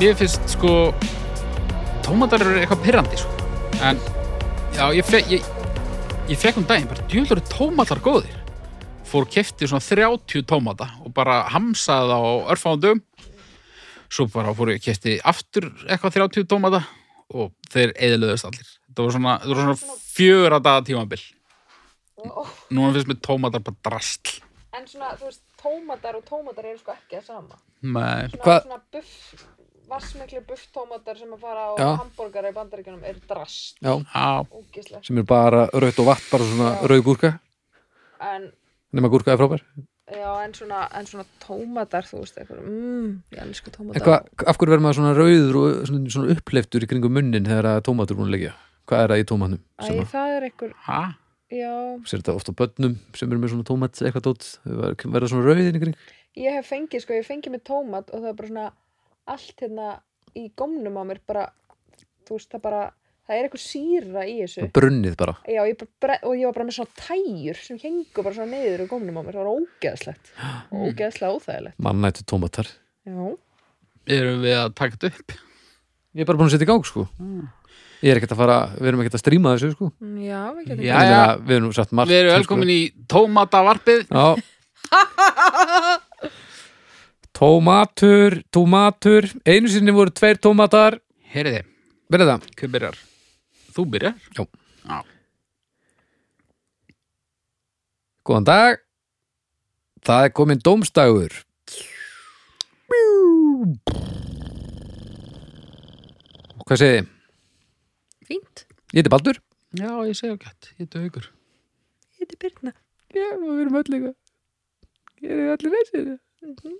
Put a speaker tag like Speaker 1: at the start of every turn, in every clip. Speaker 1: mér finnst sko tómatar eru eitthvað pyrrandi sko. en já, ég, fe, ég, ég fekk um daginn bara djúlar tómatar góðir fór kefti svona 30 tómata og bara hamsaði það á örfándum svo bara fór ég kefti aftur eitthvað 30 tómata og þeir eðlöðust allir þetta var svona, þetta var svona fjöra daga tímabil
Speaker 2: Ó,
Speaker 1: núna finnst mér tómatar bara drastl
Speaker 2: En svona, þú veist, tómatar og tómatar eru sko ekki að sama
Speaker 1: Nei.
Speaker 2: Svona,
Speaker 3: Hvað-
Speaker 2: svona buff, vassmikli bufftómatar sem að fara á
Speaker 3: Já.
Speaker 2: hambúrgara í bandaríkjunum eru drast
Speaker 3: já,
Speaker 1: Já,
Speaker 2: Úgislega
Speaker 3: sem er bara raut og vatn, bara svona
Speaker 2: Já.
Speaker 3: rauð gúrka
Speaker 2: En,
Speaker 3: nema gúrka er frábær
Speaker 2: já, en svona, en svona tómatar, þú veist, eitthvað Mmm, ég elsku
Speaker 3: En
Speaker 2: tómatar
Speaker 3: hvað, af hverju verður maður svona rauður og svona, svona uppleiftur í kringum munnin þegar að tómatur búin að leggja? Hvað er það í tómatnum? sem
Speaker 2: Æ,
Speaker 3: að-
Speaker 2: það er einhver,
Speaker 1: hæ?
Speaker 2: já
Speaker 3: Sér þetta ofta börnum sem eru með svona tómat eitthvað dót, verður verða svona rauðin í kring?
Speaker 2: ég hef fengið, sko, ég hef fengið með tómat og það er bara svona allt hérna í gómnum á mér bara, þú veist, það bara það er eitthvað síra í þessu
Speaker 3: Brunnið bara.
Speaker 2: Já, ég bara, bre- og ég var bara með svona tæjur sem hengu bara svona neyður í gómnum á mér það var ógeðslegt,
Speaker 3: Mm.
Speaker 2: og ógeðslega óþægilegt
Speaker 3: Mannættu tómatar.
Speaker 2: Já,
Speaker 1: Erum við að taka þetta upp?
Speaker 3: Ég er bara búin að setja í gang sko. Ég er ekkert að fara, við erum ekkert að stríma þessu sko.
Speaker 2: Mm, já, við getum
Speaker 1: Já,
Speaker 3: Ég meina, Við erum satt margt.
Speaker 1: Við erum velkomin í tómatavarpið
Speaker 3: Sko. Já. Tómatur, tómatur, einu sinni voru tveir tómatar.
Speaker 1: Heyriði,
Speaker 3: Verður það?
Speaker 1: hver byrjar? Þú byrjar?
Speaker 3: Já.
Speaker 1: Já.
Speaker 3: Góðan dag Það er komin dómstagur Hvað segið þið?
Speaker 2: fínt
Speaker 3: Ég heiti Baldur
Speaker 1: Já, ég segja gætt, ég heiti haugur
Speaker 2: Ég heiti Birna
Speaker 3: Já, við erum öll eitthvað Ég er allir reysið
Speaker 2: Mhm,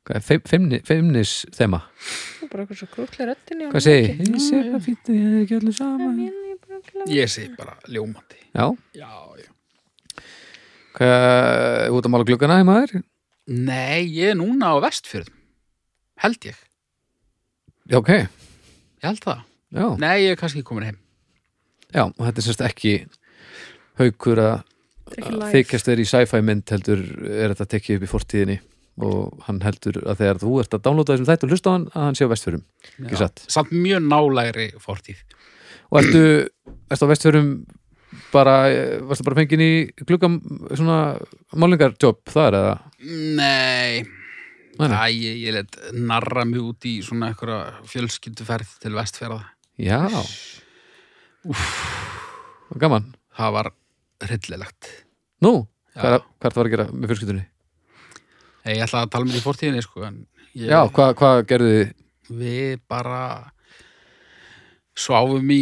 Speaker 3: Hvað er feim, feimni, feimnis þema?
Speaker 2: Þú bara eitthvað svo krúkla röddinni
Speaker 3: Hvað segið? þið? Ég sé hvað fýtt Ég er ekki allir saman
Speaker 2: segir?
Speaker 1: Ég segi bara ljómandi
Speaker 3: Já,
Speaker 1: Já, já
Speaker 3: hvað, út að mála gluggana heima þér?
Speaker 1: Nei, ég er núna á vestfjörðum Held ég,
Speaker 3: Já, ok,
Speaker 1: ég held það
Speaker 3: já,
Speaker 1: Nei, ég er kannski komin heim
Speaker 3: já, og þetta er sérst ekki haukur að þykjast er í sci-fi mynd heldur er þetta tekið upp í fortíðinni og hann heldur að þegar þú ert að downloada þessum þætt og hlusta á hann að hann sé á vestfjörum
Speaker 1: Já.
Speaker 3: ekki satt
Speaker 1: Samt mjög nálægri fortíð
Speaker 3: og ertu, ertu á vestfjörum bara, eh, varstu bara fengin í gluggam svona málingarjobb þar eða
Speaker 1: Nei,
Speaker 3: Nei, nei.
Speaker 1: Æ, ég, ég let narra mig út í svona einhverja fjölskylduferð til vestfjörða
Speaker 3: já gaman,
Speaker 1: Það var hryllilegt
Speaker 3: nú
Speaker 1: Já.
Speaker 3: hvað, hvað ertu að fara að gera með fjölskyldunni
Speaker 1: Nei, Ég ætla að tala mér í fortíðinni sko, en ég,
Speaker 3: já, hvað, hvað gerðu þið
Speaker 1: við bara sváfum í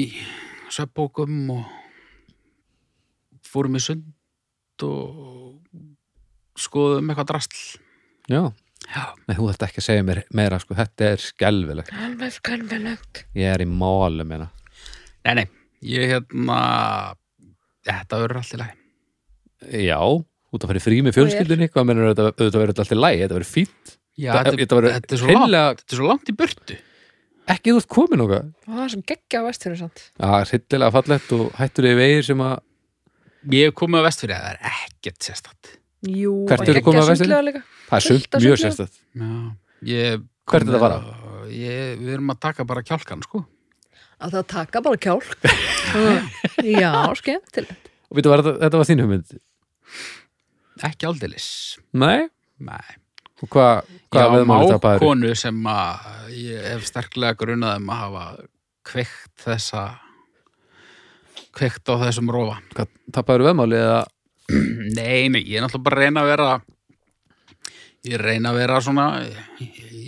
Speaker 1: svefbókum og fórum í sund og skoðum eitthvað drastl
Speaker 3: já,
Speaker 1: Já,
Speaker 3: nei, þú ætti ekki að segja mér meira sko, þetta er skelvilegt
Speaker 2: Alveg skalvelögt
Speaker 3: ég er í málum hérna
Speaker 1: nei, nei, ég hérna þetta verður allt í lagi
Speaker 3: Já, út að fara í frí með fjölskyldunni hvað mennur þetta, auðvitað verður þetta alltaf læg þetta verður fínt,
Speaker 1: Já,
Speaker 3: Þa-
Speaker 1: þetta,
Speaker 3: þetta
Speaker 1: þetta,
Speaker 3: verður
Speaker 1: er svo langt,
Speaker 3: hreinlega
Speaker 1: þetta er svo langt í burtu
Speaker 3: ekki þú ert komin okkar
Speaker 2: Og það er sem geggja á vestfyrir samt
Speaker 3: Já, hryllilega fallegt og hættur í vegir sem að
Speaker 1: Ég hef komið á vestfyrir, það er ekkert sérstætt
Speaker 2: Jú,
Speaker 3: Hvert
Speaker 2: og
Speaker 3: eru komin á
Speaker 2: geggjað
Speaker 3: Vestfirði?
Speaker 2: sundlaugar líka.
Speaker 3: það er sumt
Speaker 2: Fullt af
Speaker 3: mjög
Speaker 2: sundlaugum.
Speaker 3: sérstætt
Speaker 1: Já, ég
Speaker 3: Hvert er þetta að fara?
Speaker 1: komið á- Ég, við erum að taka bara kjálkan, sko
Speaker 2: að það taka bara kjálk já, skemmtilegt
Speaker 3: og veitum, var, þetta- þetta var þín hugmynd
Speaker 1: Ekki aldeilis
Speaker 3: Nei,
Speaker 1: Nei
Speaker 3: og hvað hva
Speaker 1: Já,
Speaker 3: veðum að þetta bara
Speaker 1: mákonu sem að ég hef sterklega grunað um að hafa kveikt þessa kveikt á þessum rófa
Speaker 3: hvað tapaður veðmáli eða
Speaker 1: Nei, nei, ég er náttúrulega bara að reyna að vera ég reyna að vera svona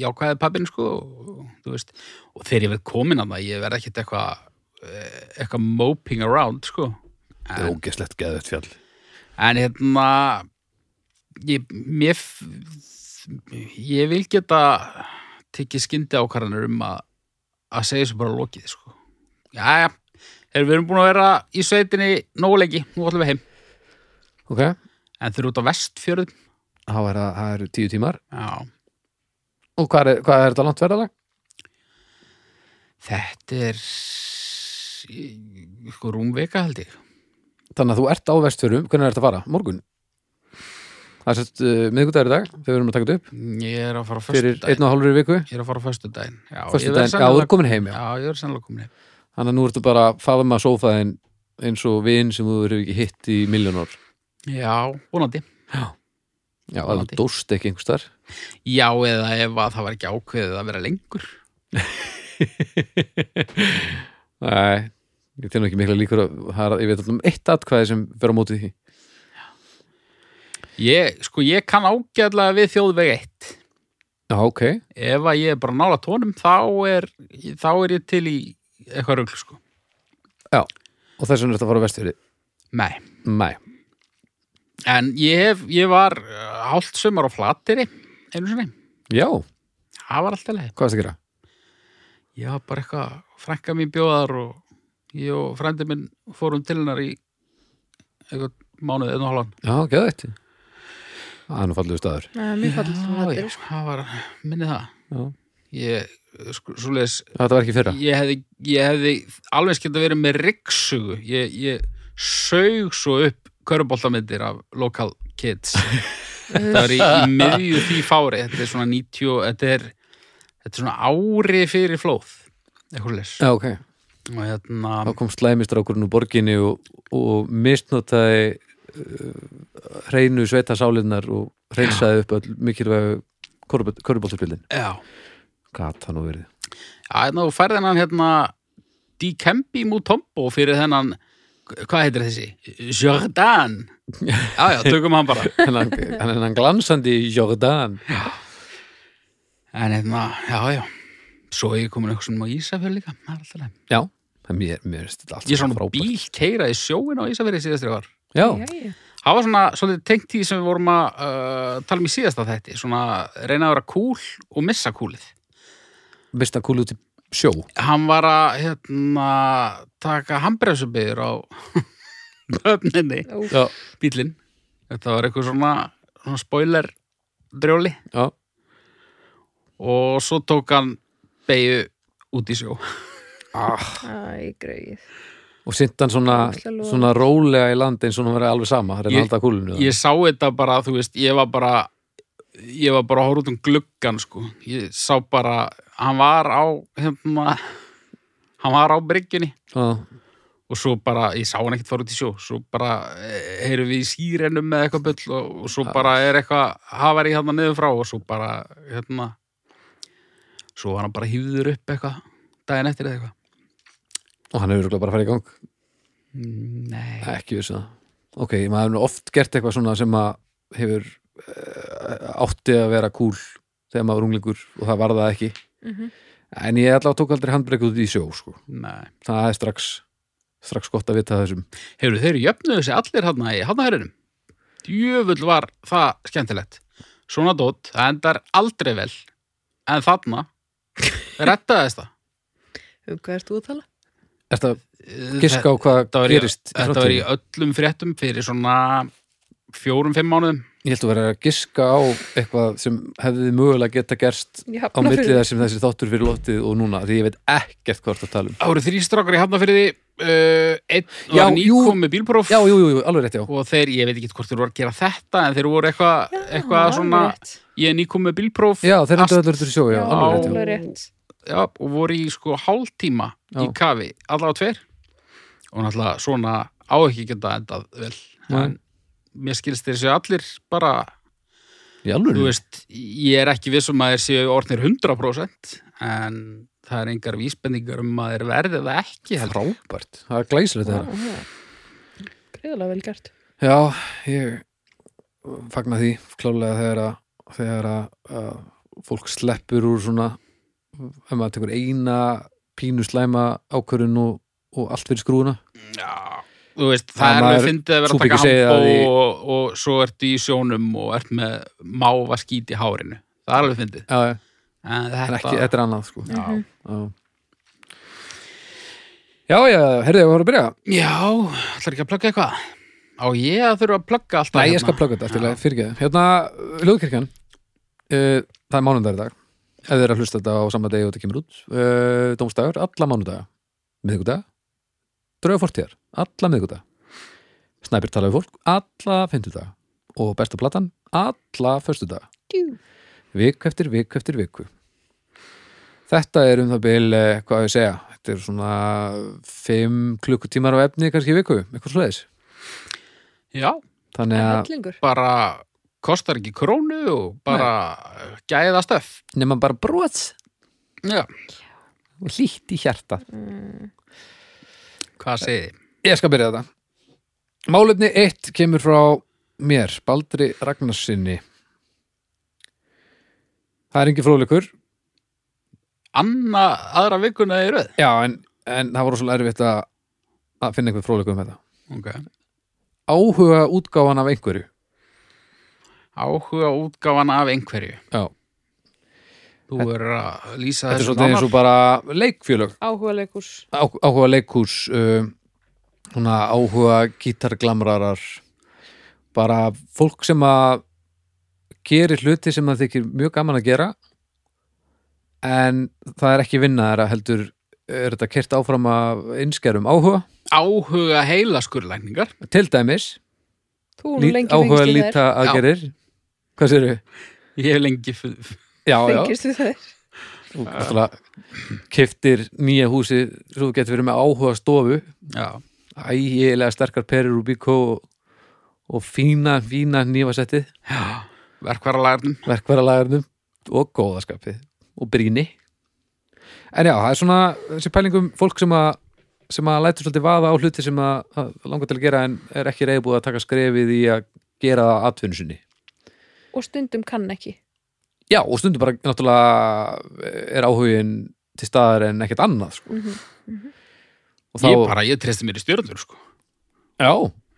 Speaker 1: jákvæði pappin sko og, þú veist, og þegar ég verð komin að það ég verð ekkert eitthvað eh, eitthvað moping around sko
Speaker 3: þetta er ógeslegt geðvett fjall
Speaker 1: En hérna ég, mér f- ég vil geta tekið skyndi ákvarðanur um að að segja þessu bara lokið sko. Jæja, er við erum búin að vera í sveitinni nógu lengi, nú ætlum við heim
Speaker 3: Ok,
Speaker 1: en þeir eru út á vestfjörðum
Speaker 3: þá er það það eru tíu tímar
Speaker 1: Já,
Speaker 3: og hvað er, hvað er þetta langt verðalag?
Speaker 1: þetta er sko rúmvika held ég
Speaker 3: Þannig að þú ert á vestfjörum, hvernig er þetta að fara? Morgun? það er sérst uh, miðgudagur í dag þegar við erum að taka þetta upp
Speaker 1: Ég er að fara á
Speaker 3: fyrir einn
Speaker 1: föstudaginn
Speaker 3: og hálfur viku
Speaker 1: Ég er að fara á föstudaginn Já, ég
Speaker 3: Föstudaginn, já,
Speaker 1: verð
Speaker 3: þú
Speaker 1: sennilega-
Speaker 3: er komin heim já.
Speaker 1: Já, ég er sannlega komin heim
Speaker 3: Þannig að nú ertu bara að faða með að sófaðin eins og vin sem þú hefur ekki hitt í miljónor
Speaker 1: Já, vonandi
Speaker 3: Já, að þú
Speaker 1: Vonandi.
Speaker 3: dóst ekki einhvers þar
Speaker 1: Já, eða ef að það var ekki ákveðið að vera lengur
Speaker 3: Nei, ég tel nú ekki mikla líkur að, það er- ég veit alltaf um eitt atkvæði sem fer á mótið því
Speaker 1: Ég, sko, ég kann ágæðlega við þjóðveg 1
Speaker 3: Já, ok,
Speaker 1: Ef að ég er bara nála tónum þá er, þá er ég til í eitthvað rögl, sko
Speaker 3: og þess vegna ertu að fara á vestfyrir
Speaker 1: Nei,
Speaker 3: Nei,
Speaker 1: en ég, hef, ég var hálft sumar á flateri einu sinni,
Speaker 3: já,
Speaker 1: það var alltaf leið
Speaker 3: hvað er það að gera?
Speaker 1: Ég var bara eitthvað, frænka mín bjóðar og ég og frændi minn fórum til hennar í eitthvað mánuð, einu hálfan
Speaker 3: Já, geða þetta Það er nú fallegu staður
Speaker 2: Mjög fallið
Speaker 1: Já, já, það var, minni það
Speaker 3: Já.
Speaker 1: Ég, sko, svoleiðis
Speaker 3: Þetta var ekki í fyrra
Speaker 1: ég hefði, ég hefði alveg skemmt að vera með riksugu ég, ég sög svo upp köruboltamyndir af local kids það var í, í miðju því fári þetta er svona 90 þetta er, þetta er svona ári fyrir flóð eitthvað leys
Speaker 3: Já, ok,
Speaker 1: og hérna
Speaker 3: þá kom slæmistrákurinn úr borginni og, og mistnotaði uh, hreinu sveita sálinnar og hreinsaði upp öll mikilvæg korubóltaspilin
Speaker 1: já,
Speaker 3: Gat það nú verið
Speaker 1: hérna þú færði hennan hérna D-Kempi Mutombo fyrir þennan hvað heitir þessi? Jordan já já, tökum hann bara
Speaker 3: Hann hann er hann glansandi í Jordan
Speaker 1: en hérna, já já svo er ég komin eitthvað svona á Ísafjörn líka það er alltaf leið
Speaker 3: Já, það mér, mér er þetta allt
Speaker 1: Ég sá nú
Speaker 3: frábært.
Speaker 1: bíl keira í sjóin á Ísafirði síðastri var.
Speaker 3: Já,
Speaker 1: Það var svona svolítið tengt því sem við vorum að uh, tala um í síðasta þætti, svona reyna að vera kúl og missa kúlið.
Speaker 3: mista kúlu út í sjó
Speaker 1: Hann var að hérna, taka handbremsubiður á öfninni,
Speaker 3: Já,
Speaker 1: bílinn. Þetta var eitthvað svona, svona spoiler drjóli
Speaker 3: já,
Speaker 1: og svo tók hann beigju út í sjó.
Speaker 2: Æ, greið
Speaker 3: og sint hann svona,
Speaker 2: Ógeðslega logandi.
Speaker 3: svona rólega í land eins og hann verið alveg sama, reyna
Speaker 1: Ég-
Speaker 3: að halda kúlinu
Speaker 1: Ég sá þetta bara, þú veist, ég var bara ég var bara að horfa út um gluggan sko, ég sá bara hann var á hérna, hann var á bryggjunni
Speaker 3: Já,
Speaker 1: og svo bara, ég sá hann ekkert fara út í sjó svo bara eh, heyrum við í sírenum með eitthvað bull og, og svo bara er eitthvað hafari hérna niður frá og svo bara hérna svo var hann bara hýður upp eitthvað daginn eftir eða eitthvað
Speaker 3: og hann hefur örugglega bara að fara í gang
Speaker 1: Mm, Nei,
Speaker 3: ekki vissi það ok, maður hefur nú oft gert eitthvað svona sem að hefur uh, átti að vera cool þegar maður var unglingur og það var það ekki en ég allavega tók aldrei handbreyk út í sjó sko.
Speaker 1: nei
Speaker 3: það er strax strax gott að vita af þessum
Speaker 1: Hefur þeir jöfnuðu sig allir hann í hafnaherrinum? Djöfull var það skemmtilegt. Svona dót, það endar aldrei vel. En þarna, rettaðist það.
Speaker 2: Um hvað erst þú að tala?
Speaker 3: er það giska á hvað
Speaker 1: þetta var í-
Speaker 3: gerist í
Speaker 1: Þetta var í
Speaker 3: framtíðinni?
Speaker 1: öllum fréttum fyrir svona fjórum, fimm mánuðum.
Speaker 3: ég held að vera að giska á eitthvað sem hefði mögulega geta gerst
Speaker 2: Ég
Speaker 3: á
Speaker 2: hafna
Speaker 3: milli
Speaker 2: fyrir
Speaker 3: þar sem þessi þáttur fyrir loftið og núna, því ég veit ekkert hvort að tala um
Speaker 1: Það voru þrýstrákar í hafnafyrði, uh, einn
Speaker 3: Já, jú.
Speaker 1: var nýkom með bílpróf
Speaker 3: já, jú, jú, jú, alveg rétt já
Speaker 1: og þeir, ég veit ekki hvort þeir voru að gera þetta, en þeir voru eitthvað eitthva
Speaker 2: Já,
Speaker 1: svona,
Speaker 2: alveg rétt.
Speaker 1: ég er nýkom með bílpróf
Speaker 3: já, þeir
Speaker 1: Ast-
Speaker 3: endur öllur til sjó, já,
Speaker 2: Já,
Speaker 3: alveg rétt já
Speaker 2: alveg rétt
Speaker 1: já, og voru í sko hálftíma í
Speaker 3: Já.
Speaker 1: kafi, allavega tveir og náttúrulega svona á ekki geta endað vel
Speaker 3: Nei.
Speaker 1: en mér skilst þeir séu allir bara,
Speaker 3: í alveg
Speaker 1: þú veist ég er ekki vissum að þeir séu orðnir 100% en það er engar vísbendingar um að þeir verði það ekki heldur
Speaker 3: frábært, það er glæsilegt þetta
Speaker 2: Greiðlega vel gert
Speaker 3: Já, ég fagna því klálega þegar að, þegar að, að fólk sleppur úr svona ef maður tekur eina pínu slæma ákvörun og, og allt fyrir skrúna
Speaker 1: já, þú veist,
Speaker 3: Það
Speaker 1: það er
Speaker 3: maður-
Speaker 1: alveg fyndið að vera
Speaker 3: svo
Speaker 1: að taka
Speaker 3: ekki segja að
Speaker 1: handbó
Speaker 3: í-
Speaker 1: og, og svo ertu í sjónum og ert með máva skít í hárinu það er alveg fyndið
Speaker 3: Já,
Speaker 1: en
Speaker 3: þetta,
Speaker 1: þetta,
Speaker 3: ekki, þetta er annað sko
Speaker 1: Já.
Speaker 3: Já, já, já herðu, ég var að byrja
Speaker 1: Já, ætlar ekki að plugga eitthvað? Á ég að þurfa að plugga alltaf hérna?
Speaker 3: Nei, ég skal plugga þetta, allt í lagi, fyrirgeðu Hérna, Ljóðkirkjan uh, Það er mánundar í dag Ef þið eru að hlusta þetta á sama degi og þetta kemur út uh, Dómstagur, alla mánudaga Miðgudag, draugafortíðar Alla miðgudag Snæpir talaði fólk, alla fimmtudag og besta platan alla föstudaga
Speaker 2: Djú.
Speaker 3: viku eftir viku eftir viku þetta er um það bil eh, hvað á ég að segja, þetta er svona 5 klukkutímar af efni kannski í viku, eitthvað svoleiðis
Speaker 1: Já,
Speaker 3: þannig að
Speaker 2: hellingur
Speaker 1: bara kostar ekki krónu og bara Nei. gæða stöf.
Speaker 3: nema bara brot
Speaker 1: Já,
Speaker 3: og hlýtt í hjarta
Speaker 2: mm.
Speaker 1: hvað segið þið?
Speaker 3: ég skal byrja þetta málefni 1 kemur frá mér, Baldri Ragnarsinni það er engin fróðleikur
Speaker 1: Anna aðra vikuna í röð.
Speaker 3: já, en, en það voru svolítið erfitt að, að finna einhver fróðleikur um þetta
Speaker 1: Ok.
Speaker 3: áhuga útgáfan af einhverju
Speaker 1: Áhuga útgáfan af einhverju.
Speaker 3: já
Speaker 1: Þú er að lýsa
Speaker 3: Þetta er
Speaker 1: þessu
Speaker 3: svolítið eins og bara leikfjölög
Speaker 2: áhuga leikurs
Speaker 3: Á, áhuga leikús uh, svona áhuga gítarglamrarar bara fólk sem að gerir hluti sem það þykir mjög gaman að gera en það er ekki vinna þeirra heldur er þetta kert áfram af innskerum áhuga
Speaker 1: Áhuga heila skurlækningar.
Speaker 3: til dæmis
Speaker 2: þú nú
Speaker 3: lít,
Speaker 2: lengi
Speaker 3: áhuga
Speaker 2: fengist við þær
Speaker 3: líta aðgerir hvað sér við?
Speaker 1: Ég hef lengi... f-
Speaker 3: Já, já,
Speaker 2: fengist við þær
Speaker 3: þú alltaf keftir nýja húsi svo þú getur verið með áhuga stofu
Speaker 1: Já.
Speaker 3: ægilega sterkar perur úr bíkó og, og fína, fína nýfasettið,
Speaker 1: Já. Verkvaralærnum.
Speaker 3: verkvaralagarnum og góðaskapið og bríni en já, það er svona þessi pælingum fólk sem að sem að lætur svolítið vaða á hluti sem að, að langar til að gera en er ekki reyðbúið að taka skrefið í að gera það atvinnsunni
Speaker 2: og stundum kann ekki
Speaker 3: já, og stundum bara náttúrulega eh, er áhugin til staðar en ekkert annað sko.
Speaker 2: Mhm.
Speaker 3: og þá,
Speaker 1: Ég bara, ég treysti mér í stjórnur, sko.
Speaker 3: já,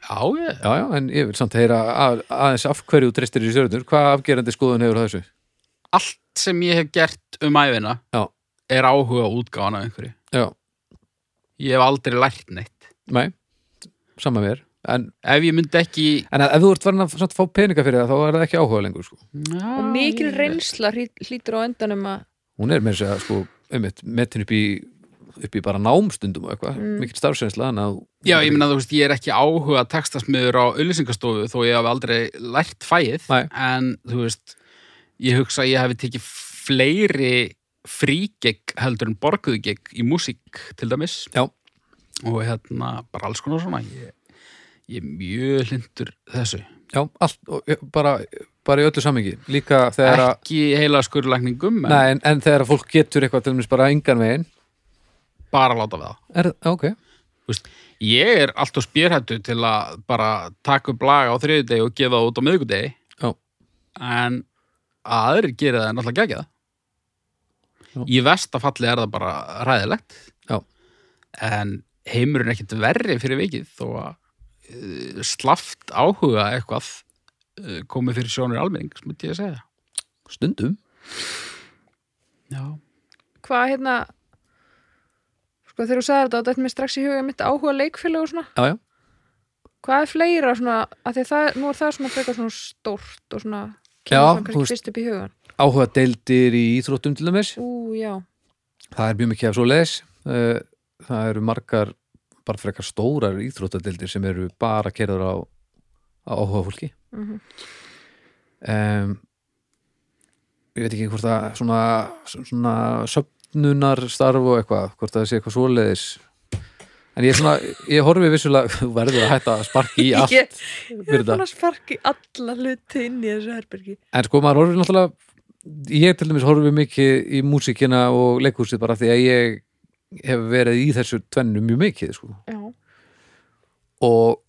Speaker 1: Já, ég.
Speaker 3: já, já, en ég vil samt heyra að, aðeins af hverju þú treystir í stjörnur hvað afgerandi skoðun hefur á þessu
Speaker 1: Allt sem ég hef gert um æfina
Speaker 3: Já.
Speaker 1: er áhuga útgáfan af einhverju.
Speaker 3: Já.
Speaker 1: Ég hef aldrei lært neitt.
Speaker 3: Nei, sama mér En,
Speaker 1: Ef ég myndi ekki...
Speaker 3: en ef þú ert verðin að samt fá peninga fyrir það þá er það ekki áhuga lengur sko.
Speaker 1: Já,
Speaker 2: og mikil
Speaker 1: ég-
Speaker 2: reynsla hlý- hlýtur á endanum að
Speaker 3: Hún er meira að segja sko, einmitt, metin upp í, upp í bara námstundum og eitthvað,
Speaker 2: Mm.
Speaker 3: mikil starfsreynsla þannig að þú-
Speaker 1: Já, ég meina þú veist, ég er ekki áhuga textasmiður á auðlýsingastofu þó ég hef aldrei lært fæið
Speaker 3: Nei.
Speaker 1: en þú veist, ég hugsa að ég hefði tekið fleiri frígegg heldur en borguðgegg í músík til dæmis
Speaker 3: Já.
Speaker 1: og hérna, bara alls konar svona ég, ég er mjög hlindur þessu
Speaker 3: Já, allt, og, ja, bara, bara í öllu samingi Líka þegar að
Speaker 1: ekki heila skurðlækningum en
Speaker 3: Nei, en, en þegar að fólk getur eitthvað til dæmis bara engan veginn
Speaker 1: bara láta við það
Speaker 3: er, já, ok,
Speaker 1: Þú veist, ég er alltaf spjörhættu til að bara taka upp laga á þriðjudegi og gefa það út á miðvikudegi
Speaker 3: Já.
Speaker 1: en að aðrir gera það er náttúrulega gegja
Speaker 3: Já.
Speaker 1: í versta falli er það bara ræðilegt
Speaker 3: Já.
Speaker 1: en heimurinn er ekkit verri fyrir vikið þó að uh, slaft áhuga eitthvað uh, komið fyrir sjónur almenning smuti ég að segja
Speaker 3: stundum
Speaker 1: Já.
Speaker 2: hvað hérna sko þegar þú sagði þetta, þetta er mér strax í huga mitt áhuga leikfélag og svona
Speaker 3: Já, já,
Speaker 2: hvað er fleira svona, að því að það, nú er það svona frekar svona stórt og svona
Speaker 3: Já,
Speaker 2: kemur svona
Speaker 3: þú
Speaker 2: kannski
Speaker 3: veist-
Speaker 2: fyrst upp í hugan
Speaker 3: áhuga deildir í íþróttum til dæmis
Speaker 2: ú, já,
Speaker 3: Það er mjög mikið af svo leis Það eru margar bara frekar stórar íþróttadeildir sem eru bara kerður á, á áhuga fólki
Speaker 2: mm
Speaker 3: um, Ég veit ekki hvort það svona, svona söfnunar starf og eitthvað, hvort það sé eitthvað svoleiðis En ég, er svona, ég horfi vissulega, þú verður að hætta að sparki í allt
Speaker 2: ég, ég
Speaker 3: fyrir
Speaker 2: er
Speaker 3: það.
Speaker 2: búin að sparki alla hluti inn í þessu herbergi
Speaker 3: En sko, maður horfir náttúrulega ég til dæmis horfi mikið í músíkina og leikhúsið bara því að ég hef verið í þessu tvennu mjög mikið sko.
Speaker 2: já,
Speaker 3: og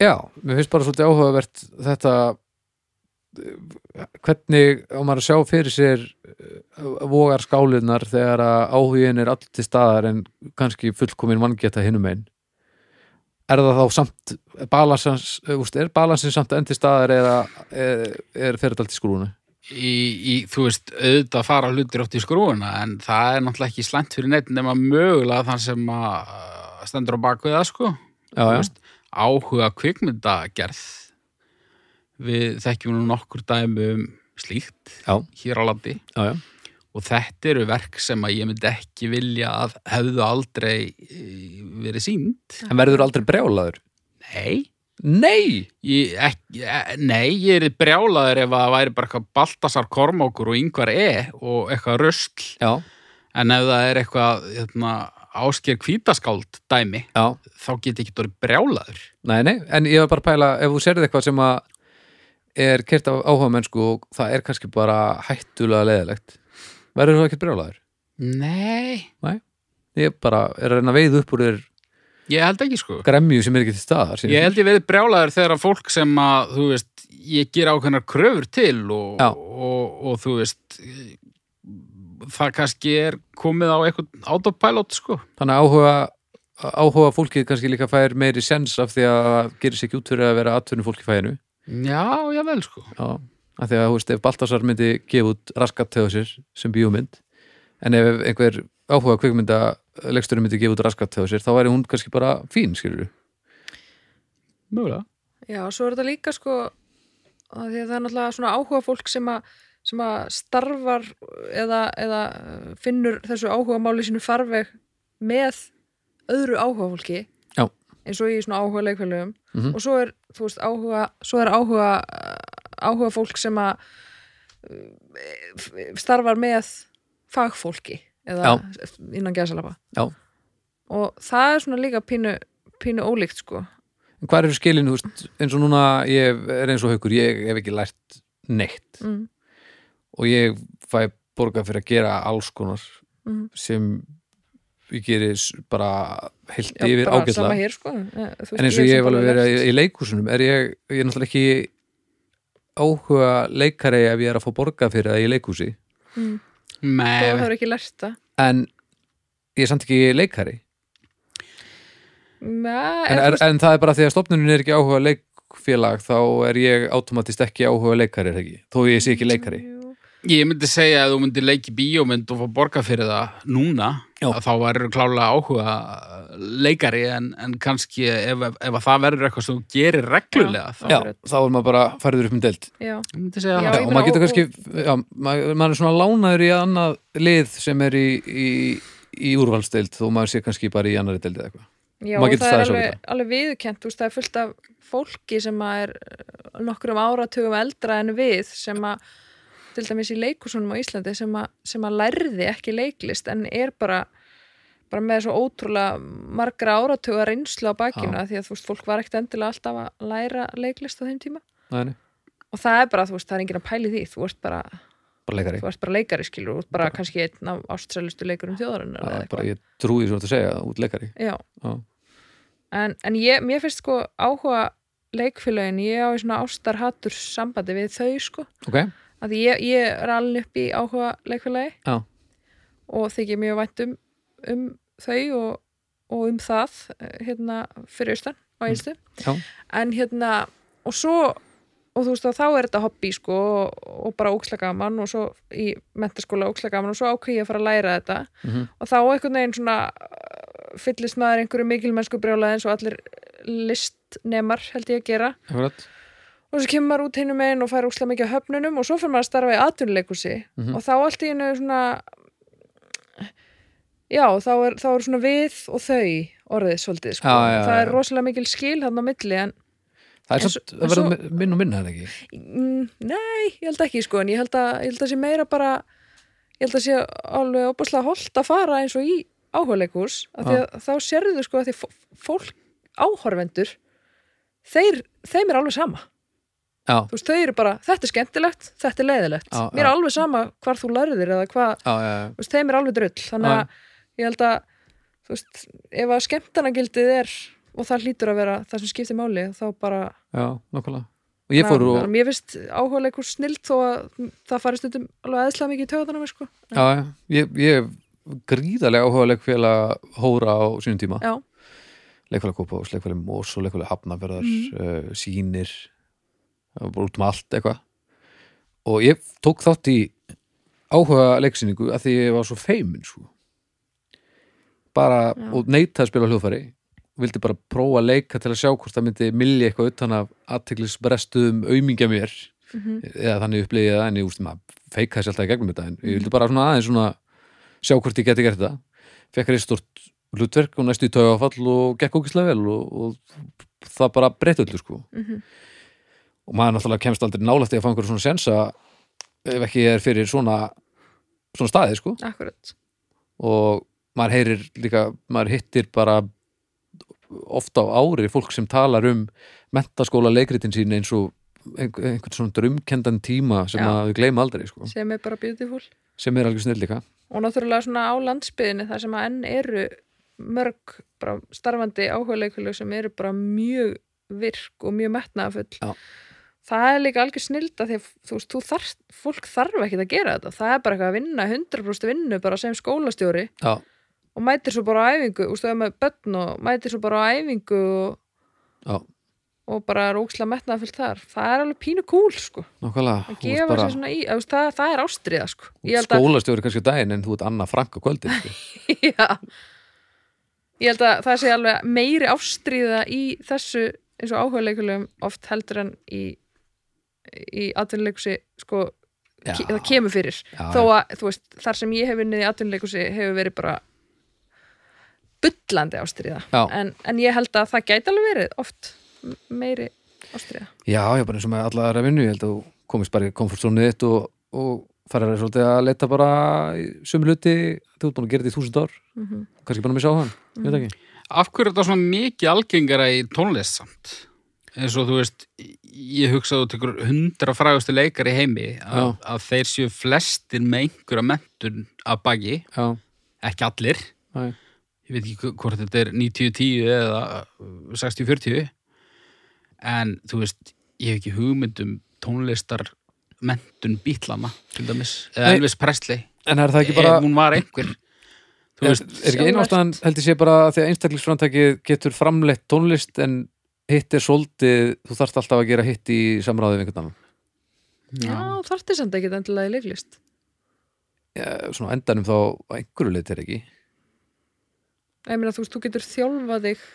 Speaker 3: já, mér finnst bara svolítið áhugavert þetta eh, hvernig á maður að sjá fyrir sér eh, vogar skálunar þegar að áhugin er allir til staðar en kannski fullkomin vangeta hinum einn er það þá samt balansans, úst, er balansin samt enn til staðar eða er, er fyrir allt í skrúnu
Speaker 1: Í, í, þú veist, auðvitað fara hlutir átt í skrúuna en það er náttúrulega ekki slæmt fyrir neitt nema mögulega þann sem að uh, stendur á baku það sko
Speaker 3: já,
Speaker 1: Þú
Speaker 3: já,
Speaker 1: veist, áhuga kvikmyndagerð við þekkjum nú nokkur dæmi um slíkt
Speaker 3: já,
Speaker 1: hér á landi
Speaker 3: já, já.
Speaker 1: og þetta eru verk sem að ég myndi ekki vilja að hefðu aldrei eh, verið sínd
Speaker 3: en verður aldrei brjálaður
Speaker 1: Nei,
Speaker 3: Nei!
Speaker 1: Ég, ekki, eh, nei, ég er brjálaður ef að það væri bara eitthvað Baltasar Kormákur og yngvar E og eitthvað rusl
Speaker 3: Já,
Speaker 1: en ef það er eitthvað hérna, ásker kvítaskáld dæmi
Speaker 3: já,
Speaker 1: þá get ég ekki orðið brjálaður
Speaker 3: nei, nei En ég var bara að pæla, ef þú serið eitthvað sem að er kert af áhuga mennsku og það er kannski bara hættulega leðilegt verður þú ekkert brjálaður?
Speaker 1: Nei,
Speaker 3: Ég bara er að reyna að veið upp úr þér
Speaker 1: ég held ekki sko
Speaker 3: gremju sem er ekki til staðar sýnist
Speaker 1: Ég
Speaker 3: mér.
Speaker 1: held ég verið brjálaður þegar að fólk sem að, þú veist, ég ger ákveðnar kröfur til og,
Speaker 3: Já.
Speaker 1: og, og, þú veist, það kannski er komið á eitthvað autopilot, sko.
Speaker 3: þannig að áhuga áhuga fólkið kannski líka fær meiri sens af því að það gerir sér ekki út fyrir að vera atvinnu fólki fæinu
Speaker 1: Já, já vel, sko.
Speaker 3: Já, af því að þú veist ef Baltasar myndi gefa út raskat þegar sér sem bíómynd en ef einhver áhuga kvikmynda leiksturum myndi gefa út raskat þegar sér þá væri hún kannski bara fín skilur
Speaker 1: Mögulega.
Speaker 2: Já, svo er þetta líka sko að því að það er náttúrulega svona áhuga fólk sem að sem að starfar eða, eða eh, finnur þessu áhuga máli sínu farveg með öðru áhuga fólki
Speaker 3: Já.
Speaker 2: eins og í svona áhuga leikfélögum
Speaker 3: Mhm.
Speaker 2: og svo er, þú veist, áhuga svo er áhuga, eh, áhuga fólk sem að eh, f- starfar með fagfólki eða innan gæðsalapa
Speaker 3: Já.
Speaker 2: og það er svona líka pínu, pínu ólíkt sko
Speaker 3: en hvað eru skilin, þú veist, eins og núna ég er eins og haukur, ég hef ekki lært neitt
Speaker 2: mm,
Speaker 3: og ég fæ borga fyrir að gera alls konar
Speaker 2: mm.
Speaker 3: sem ég geri s- bara heilt
Speaker 2: Já,
Speaker 3: yfir
Speaker 2: bara sama
Speaker 3: ágætlega
Speaker 2: hér sko Eh, þú veist,
Speaker 3: en eins og ég hef
Speaker 2: samt
Speaker 3: alveg verið í,
Speaker 2: lært.
Speaker 3: í leikhúsunum er ég, ég er náttúrulega ekki áhuga leikari ef ég er að fá borga fyrir það í leikhúsi
Speaker 2: mm. þú
Speaker 1: Með,
Speaker 2: hefur ekki lært það
Speaker 3: en ég er samt ekki leikari
Speaker 2: Mæ,
Speaker 3: en, er,
Speaker 2: er,
Speaker 3: en það er bara því að stofnunin er ekki áhuga leikfélag þá er ég automatist ekki áhuga leikari er það ekki, þó ég sé ekki leikari
Speaker 2: Jú.
Speaker 1: ég myndi segja að þú myndi leiki bíómynd og fá borga fyrir það núna,
Speaker 3: Já.
Speaker 1: að þá verður klálega áhuga leikari en, en kannski ef, ef, ef að það verður eitthvað sem þú gerir reglulega, þá
Speaker 3: já, þá er maður bara færður upp um deild
Speaker 2: já,
Speaker 1: ég myndi segja
Speaker 2: Já,
Speaker 1: það.
Speaker 3: Já,
Speaker 2: ég
Speaker 3: og
Speaker 2: meina,
Speaker 3: maður getur
Speaker 2: og-
Speaker 3: kannski já, maður, maður er svona lánaður í annað lið sem er í, í, í úrvalsdeild þó maður sé kannski bara í annari deild eða eitthvað
Speaker 2: já
Speaker 3: Maður
Speaker 2: og
Speaker 3: getur
Speaker 2: það er
Speaker 3: staðið sig á
Speaker 2: alveg, alveg viðurkent veist, það er fullt af fólki sem að er eh, nokkrum áratugum eldra en við sem að til dæmis í leikusunum á Íslandi sem að, sem að lærði ekki leiklist en er bara bara með svo ótrúlega margra áratuga reynslu á bakinu
Speaker 3: Já.
Speaker 2: af því að þú veist, fólk var ekkert endilega alltaf að læra leiklist á þeim tíma
Speaker 3: Nei, nei,
Speaker 2: og það er bara, þú veist, það er enginn að pæli því þú ert bara
Speaker 3: bara leikari
Speaker 2: þú ert bara leikari skilur, þú ert bara kannski einn af ástrælustu leikurum þjóðarinnar
Speaker 3: Já,
Speaker 2: eða
Speaker 3: bara
Speaker 2: eitthvað.
Speaker 3: ég trúi svo að segja það út leikari
Speaker 2: Já.
Speaker 3: Já.
Speaker 2: en, en ég, mér finnst sko áhuga leikfélögin, ég á í svona ástarhatur sambandi við þau sko
Speaker 3: ok,
Speaker 2: að ég, ég er alveg upp í áhuga leikfélagi
Speaker 3: Já.
Speaker 2: og þykir mjög vænt um, um þau og, og um það eh, hérna fyrir austan
Speaker 3: Mm.
Speaker 2: á einstu
Speaker 3: Já.
Speaker 2: en hérna og svo og þú veist að þá er þetta hobby sko og, og bara ókslega gaman og svo í mentaskóla ókslega gaman og svo ákveð ég að fara að læra þetta
Speaker 3: Mhm.
Speaker 2: og þá einhvern veginn svona uh, fyllist maður einhverju mikilmennsku brjóla eins og allir listnemar held ég að gera
Speaker 3: akkurat
Speaker 2: og svo kemur maður út hinn um einn og fær úslega mikið á höfnunum og svo fyrir maður að starfa í atvinnuleikursi
Speaker 3: Mhm.
Speaker 2: og þá allt í einu svona já, þá er, þá er svona við og þau orðið svolítið sko.
Speaker 3: Já, já,
Speaker 2: það er
Speaker 3: já.
Speaker 2: rosalega mikil skil hann á milli en
Speaker 3: það er
Speaker 2: En
Speaker 3: samt,
Speaker 2: svo-
Speaker 3: það verður
Speaker 2: en
Speaker 3: svo... minn og minna er það ekki
Speaker 2: mm, nei, ég held ekki sko en ég held að, ég held að sé meira bara ég held að sé alveg opaslega holt að fara eins og í áhugaleikus af því
Speaker 3: Já.
Speaker 2: að þá sérðu sko að því fó- fólk áhorfendur þeir, þeim er alveg sama
Speaker 3: já,
Speaker 2: þú veist, þau eru bara, þetta er skemmtilegt, þetta er leiðilegt
Speaker 3: Já,
Speaker 2: mér er
Speaker 3: já.
Speaker 2: alveg sama hvar þú lærðir eða hvað,
Speaker 3: já, já, já.
Speaker 2: þú veist, þeim er alveg drull þannig að ég held að þú veist, ef að skemmtanagildið er og það hlýtur að vera það sem skiptir máli þá bara,
Speaker 3: já nokkulega og ég fór
Speaker 2: Ná,
Speaker 3: og,
Speaker 2: þannig að mér finnst áhugaleikur snilt þó að það farist stundum alveg eðslega mikið í töðanum sko.
Speaker 3: já, já, ég, ég hef gríðarlega áhuga leikfélag hóra á sínum tíma
Speaker 2: Já.
Speaker 3: leikfélagkópa og leikfélag mós og leikfélag hafnaverðar,
Speaker 2: Mhm.
Speaker 3: uh, sýnir það var bara út um allt eitthvað og ég tók þátt í áhuga leiksýningu að því ég var svo feimin sko. bara
Speaker 2: Já.
Speaker 3: og neita að spila á hljóðfæri og vildi bara prófa að leika til að sjá hvort það myndi milli eitthvað utan af aðteglisbrestuðum aumingja mér
Speaker 2: Mhm.
Speaker 3: eða þannig upplýði það en ég úst maður feika þessi alltaf í gegnum þetta en ég vildi bara svona aðeins svona sjá hvort ég geti gert þetta fekk hér stort hlutverk og næstu í tói áfall og gekk ókislega vel og, og það bara breytt öllu sko
Speaker 2: Mhm.
Speaker 3: og maður náttúrulega kemst aldrei nálægt í að fá einhverjum svona sensa ef ekki er fyrir svona svona staði sko
Speaker 2: akkurat
Speaker 3: og maður heyrir líka maður hittir bara ofta á ári fólk sem talar um mentaskóla leikritin sín eins og einhver- einhvern svona drumkendan tíma sem
Speaker 2: Já.
Speaker 3: að við gleyma aldrei sko,
Speaker 2: sem er bara beautiful
Speaker 3: sem er alveg snill líka
Speaker 2: og náttúrulega svona á landsbyðinni þar sem að enn eru mörg bara starfandi áhugaleikulög sem eru bara mjög virk og mjög metnaðafull
Speaker 3: Já.
Speaker 2: það er líka algjör snilda því að þú veist, þú þarft, fólk þarf ekki að gera þetta það er bara eitthvað að vinna, 100% vinnu bara sem skólastjóri
Speaker 3: Já,
Speaker 2: og mætir svo bara á æfingu, þú veist, það er með börn og mætir svo bara á æfingu og,
Speaker 3: já,
Speaker 2: og bara er ókslega metnaðafull þar, það er alveg pínu kúl sko,
Speaker 3: nákvæmlega
Speaker 2: að
Speaker 3: Þú ert
Speaker 2: gefa sér svona í, þú veist, það, það er ástriða sko,
Speaker 3: þú ert skólastjóri kannski á daginn en þú ert Anna Frank á kvöldin sko.
Speaker 2: Já Ég held að það sé alveg meiri ástríða í þessu eins og áhugaleikulegum oft heldur en í, í atvinnuleikusi sko,
Speaker 3: Já.
Speaker 2: ke það kemur fyrir
Speaker 3: Já,
Speaker 2: þó að, þú veist, þar sem ég hef vinnið í atvinnuleikusi hefur verið bara bullandi ástríða
Speaker 3: Já.
Speaker 2: en, en ég held að það gæti alveg verið oft m- meiri ástríða
Speaker 3: Já, já, bara eins og með alla aðra vinnu ég held að þú komist bara í komfortzónið þitt og, og farir svolítið að leita bara í sömu hluti, þú ert búin að gera þetta í þúsund ár
Speaker 2: mm
Speaker 3: kannski bara að missa á hann, ég veit ekki
Speaker 1: Af hverju er þetta svona mikið algengara í tónlist samt? Eins og þú veist, ég hugsa að þú tekur hundra frægustu leikar í heimi að, að þeir séu flestir með einhverja mentun að baki,
Speaker 3: Já,
Speaker 1: ekki allir.
Speaker 3: næ
Speaker 1: Ég veit ekki hvort þetta er 90-10 eða uh, 60-40. En þú veist, ég hef ekki hugmynd um tónlistar mentun bítlana, til dæmis. Eða
Speaker 3: Nei.
Speaker 1: Elvis Presley,
Speaker 3: En er það
Speaker 2: Eh,
Speaker 3: ekki bara
Speaker 1: ef hún var einhver. Þú
Speaker 3: er,
Speaker 1: veist,
Speaker 3: er ekki einu ástæðan held ég sé bara að því að einstaklingsframtækið getur framleitt tónlist en hitt er svolítið, þú þarft alltaf að gera hitt í samráði við einhvern annan
Speaker 2: Já, þarfti samt ekki endilega í leiklist
Speaker 3: Eh, svona á endanum þá að einhverju leitt er ekki
Speaker 2: ég meina þú veist, þú getur þjálfað þig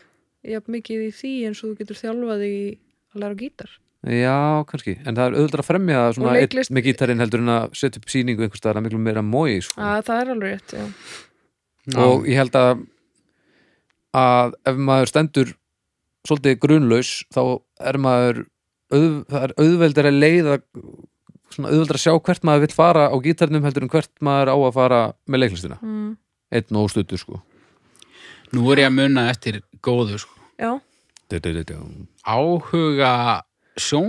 Speaker 2: jafn mikið í því eins og þú getur þjálfað þig í að læra á gítar
Speaker 3: Já, kannski, en það er auðvitað að fremja það svona
Speaker 2: Og leiklist-
Speaker 3: einn með gítarinn heldur en að setja upp sýningu einhvers staðar að miklu meira mói sko.
Speaker 2: að, Ah, það er alveg rétt, já
Speaker 3: og ég held að að ef maður stendur svolítið grunlaus þá er maður auð, það er auðveldar að leiða svona auðveldar að sjá hvert maður vill fara á gítarnum heldur en hvert maður á að fara með leiklistina,
Speaker 2: mm.
Speaker 3: einn og stuttur sko
Speaker 1: Nú er ég að muna eftir góðu, sko.
Speaker 2: já,
Speaker 3: Hamraborgar
Speaker 1: áhuga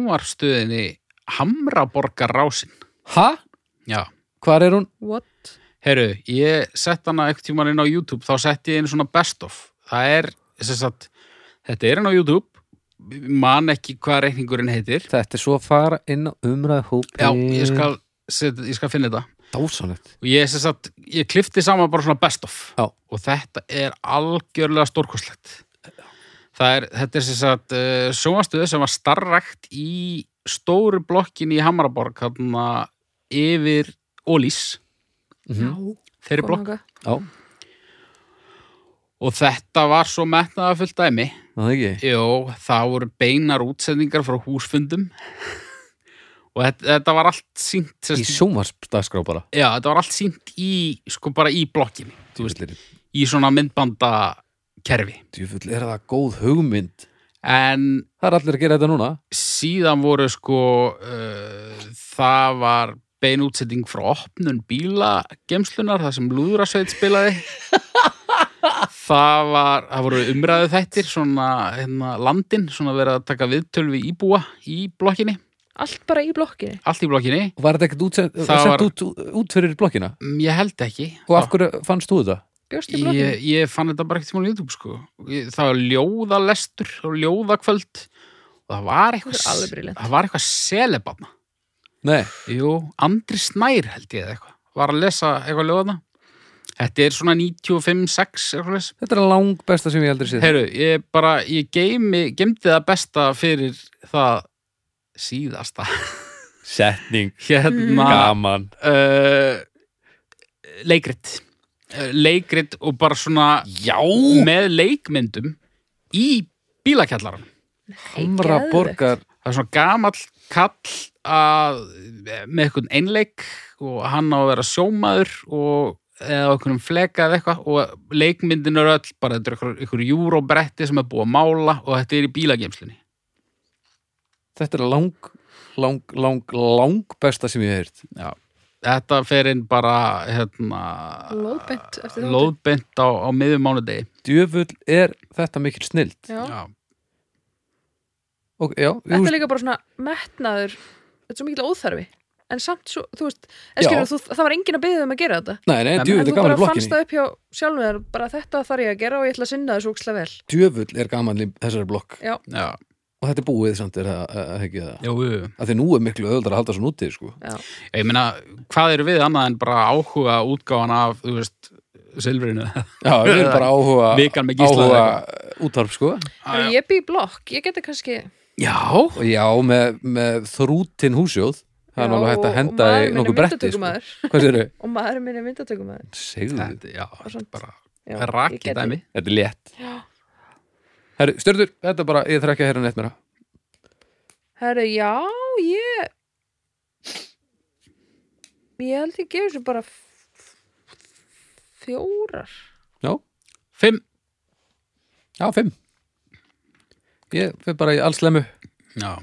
Speaker 1: sjónvarstöðinni Hamraborgar Rásin.
Speaker 3: Ha?
Speaker 1: Já,
Speaker 3: Hvar er hún?
Speaker 2: what
Speaker 1: herru, ég sett hana eitthvað tíma inn á YouTube, þá sett ég inn svona best of. Það er, sem sagt, þetta er inn á YouTube, man ekki hvað reikningurinn heitir.
Speaker 3: Þetta er svo að fara inn á umræðu hópi
Speaker 1: Já, ég skal, set, ég skal finna þetta.
Speaker 3: Dásanlegt
Speaker 1: Og ég, sem sagt, ég klifti saman bara svona best of.
Speaker 3: Já.
Speaker 1: Og þetta er algjörlega stórkostlegt. Það er, þetta er sem sagt uh, sjónastöðu sem var starrakt í stóru blokkinni í Hamaraborg, þarna yfir Ólís, Mhm. þeirri blokk.
Speaker 2: Kom þangað.
Speaker 3: Já,
Speaker 1: Og þetta var svo metnaðafullt dæmi.
Speaker 3: það er ekki
Speaker 1: Jó, það voru beinar útsendingar frá húsfundum. og þetta, þetta var allt sínt, sem,
Speaker 3: Í sjónvarsdagskrá bara
Speaker 1: já, þetta var allt sínt í, sko bara í blokkinni, þú veist,
Speaker 3: Djöfull er-
Speaker 1: í svona myndbandakerfi.
Speaker 3: Djöfull er það góð hugmynd
Speaker 1: En
Speaker 3: Það er allir að gera þetta núna
Speaker 1: síðan voru sko uh, það var bein útsetting frá opnun bílagemslunar þar sem Lúðrasveit spilaði það var það voru umræðu þættir svona hérna, landin, svona verið að taka viðtöl við íbúa í blokkinni
Speaker 2: allt bara í blokkinni
Speaker 1: allt í blokkinni,
Speaker 3: Og Var Ah. þetta ekkert útsend,
Speaker 1: Það
Speaker 3: sett
Speaker 1: var-
Speaker 3: út, út fyrir blokkina?
Speaker 1: Mm, ég held ekki
Speaker 3: Og af hverju fannst þú þetta?
Speaker 2: bjóst í blokkinni
Speaker 1: ég, ég fann þetta bara ekkert tíma á YouTube sko Ég- það var ljóðalestur og ljóðakvöld og það var eitthvað
Speaker 2: Þetta er alveg brilliant.
Speaker 1: það var eitthvað selebanna
Speaker 3: Nei,
Speaker 1: Jú, Andri Snær held ég eða eitthvað var að lesa eitthvað ljóðana Þetta er svona 95-6 eitthvað leys
Speaker 3: þetta er lang besta sem ég aldrei séð
Speaker 1: Heru, ég bara, ég geimi, geimdi það besta fyrir það síðasta
Speaker 3: Setning,
Speaker 1: hérna
Speaker 3: Mm. gaman
Speaker 1: uh, leikrit Eh, leikrit og bara svona
Speaker 3: Já
Speaker 1: með leikmyndum í bílakjallaran
Speaker 3: Hamra
Speaker 2: geðveikt.
Speaker 3: borgar
Speaker 1: það er svona gamall kall að, með einhvern einleik og hann á að vera sjómaður og eða okkur um fleka eða eitthvað og leikmyndin eru öll bara þetta er ykkur, ykkur júróbretti sem er búið að mála og þetta er í bílageimslinni
Speaker 3: Þetta er lang, lang, lang, lang besta sem ég hef heyrt
Speaker 1: Já. þetta fer inn bara hérna,
Speaker 2: Lóðbeint eftir þáttinn.
Speaker 1: lóðbeint á, á miðjum mánudegi
Speaker 3: Djöfull er þetta mikil snild
Speaker 2: Já.
Speaker 1: Já.
Speaker 3: Ok, já,
Speaker 2: Þetta
Speaker 3: jú,
Speaker 2: er líka bara svona metnaður Þetta er svo mikil óþarfi En samt svo, þú veist en
Speaker 3: Já.
Speaker 2: skilur, þú, Það var engin að byggja um að gera þetta
Speaker 3: nei, nei,
Speaker 1: En-
Speaker 3: djöfull
Speaker 2: En
Speaker 3: er
Speaker 2: þú
Speaker 3: gaman í
Speaker 2: bara fannst
Speaker 3: blokkinni
Speaker 2: það upp hjá sjálfum þér Bara þetta þarf ég að gera og ég ætla að sinna þessu úkslega vel
Speaker 3: Djöfull er gaman í þessari blokk
Speaker 2: Já,
Speaker 1: Já.
Speaker 3: og þetta er búið samt er það að- að- ekki það
Speaker 1: Jú, jú, jú.
Speaker 3: að því nú er miklu öðuldar að halda svo nútið sko.
Speaker 2: já,
Speaker 1: ég meina, hvað eru við annað en bara áhuga útgáfan af, þú veist silfrinu
Speaker 3: Já, við erum bara áhuga
Speaker 1: Vikan með Gísla
Speaker 3: áhuga
Speaker 1: eða
Speaker 3: útarp sko
Speaker 2: Herra, Ég bý í blokk, ég geti kannski
Speaker 1: Já,
Speaker 3: og já, með, með þrútin húsjóð það er
Speaker 2: Já,
Speaker 3: náttúrulega hægt
Speaker 2: og-
Speaker 3: að henda
Speaker 2: og
Speaker 3: í
Speaker 2: maður minn er
Speaker 3: nokkuð bretti sko.
Speaker 2: myndatökumaður.
Speaker 3: hvað sér þau?
Speaker 2: Og maður minn er myndatökumæður
Speaker 3: Segðu,
Speaker 1: þetta, já,
Speaker 2: Og samt-
Speaker 1: bara rakið dæmi
Speaker 3: þetta er létt
Speaker 2: Já.
Speaker 3: Herru, stjörður, þetta er bara, ég þarf ekki að heyra neitt mér
Speaker 2: Herru, já, ég Ég held ég gefur þessu bara f- f- fjórar
Speaker 3: Já,
Speaker 1: Fimm,
Speaker 3: já, fimm Ég fyrir bara í allslemu
Speaker 1: já,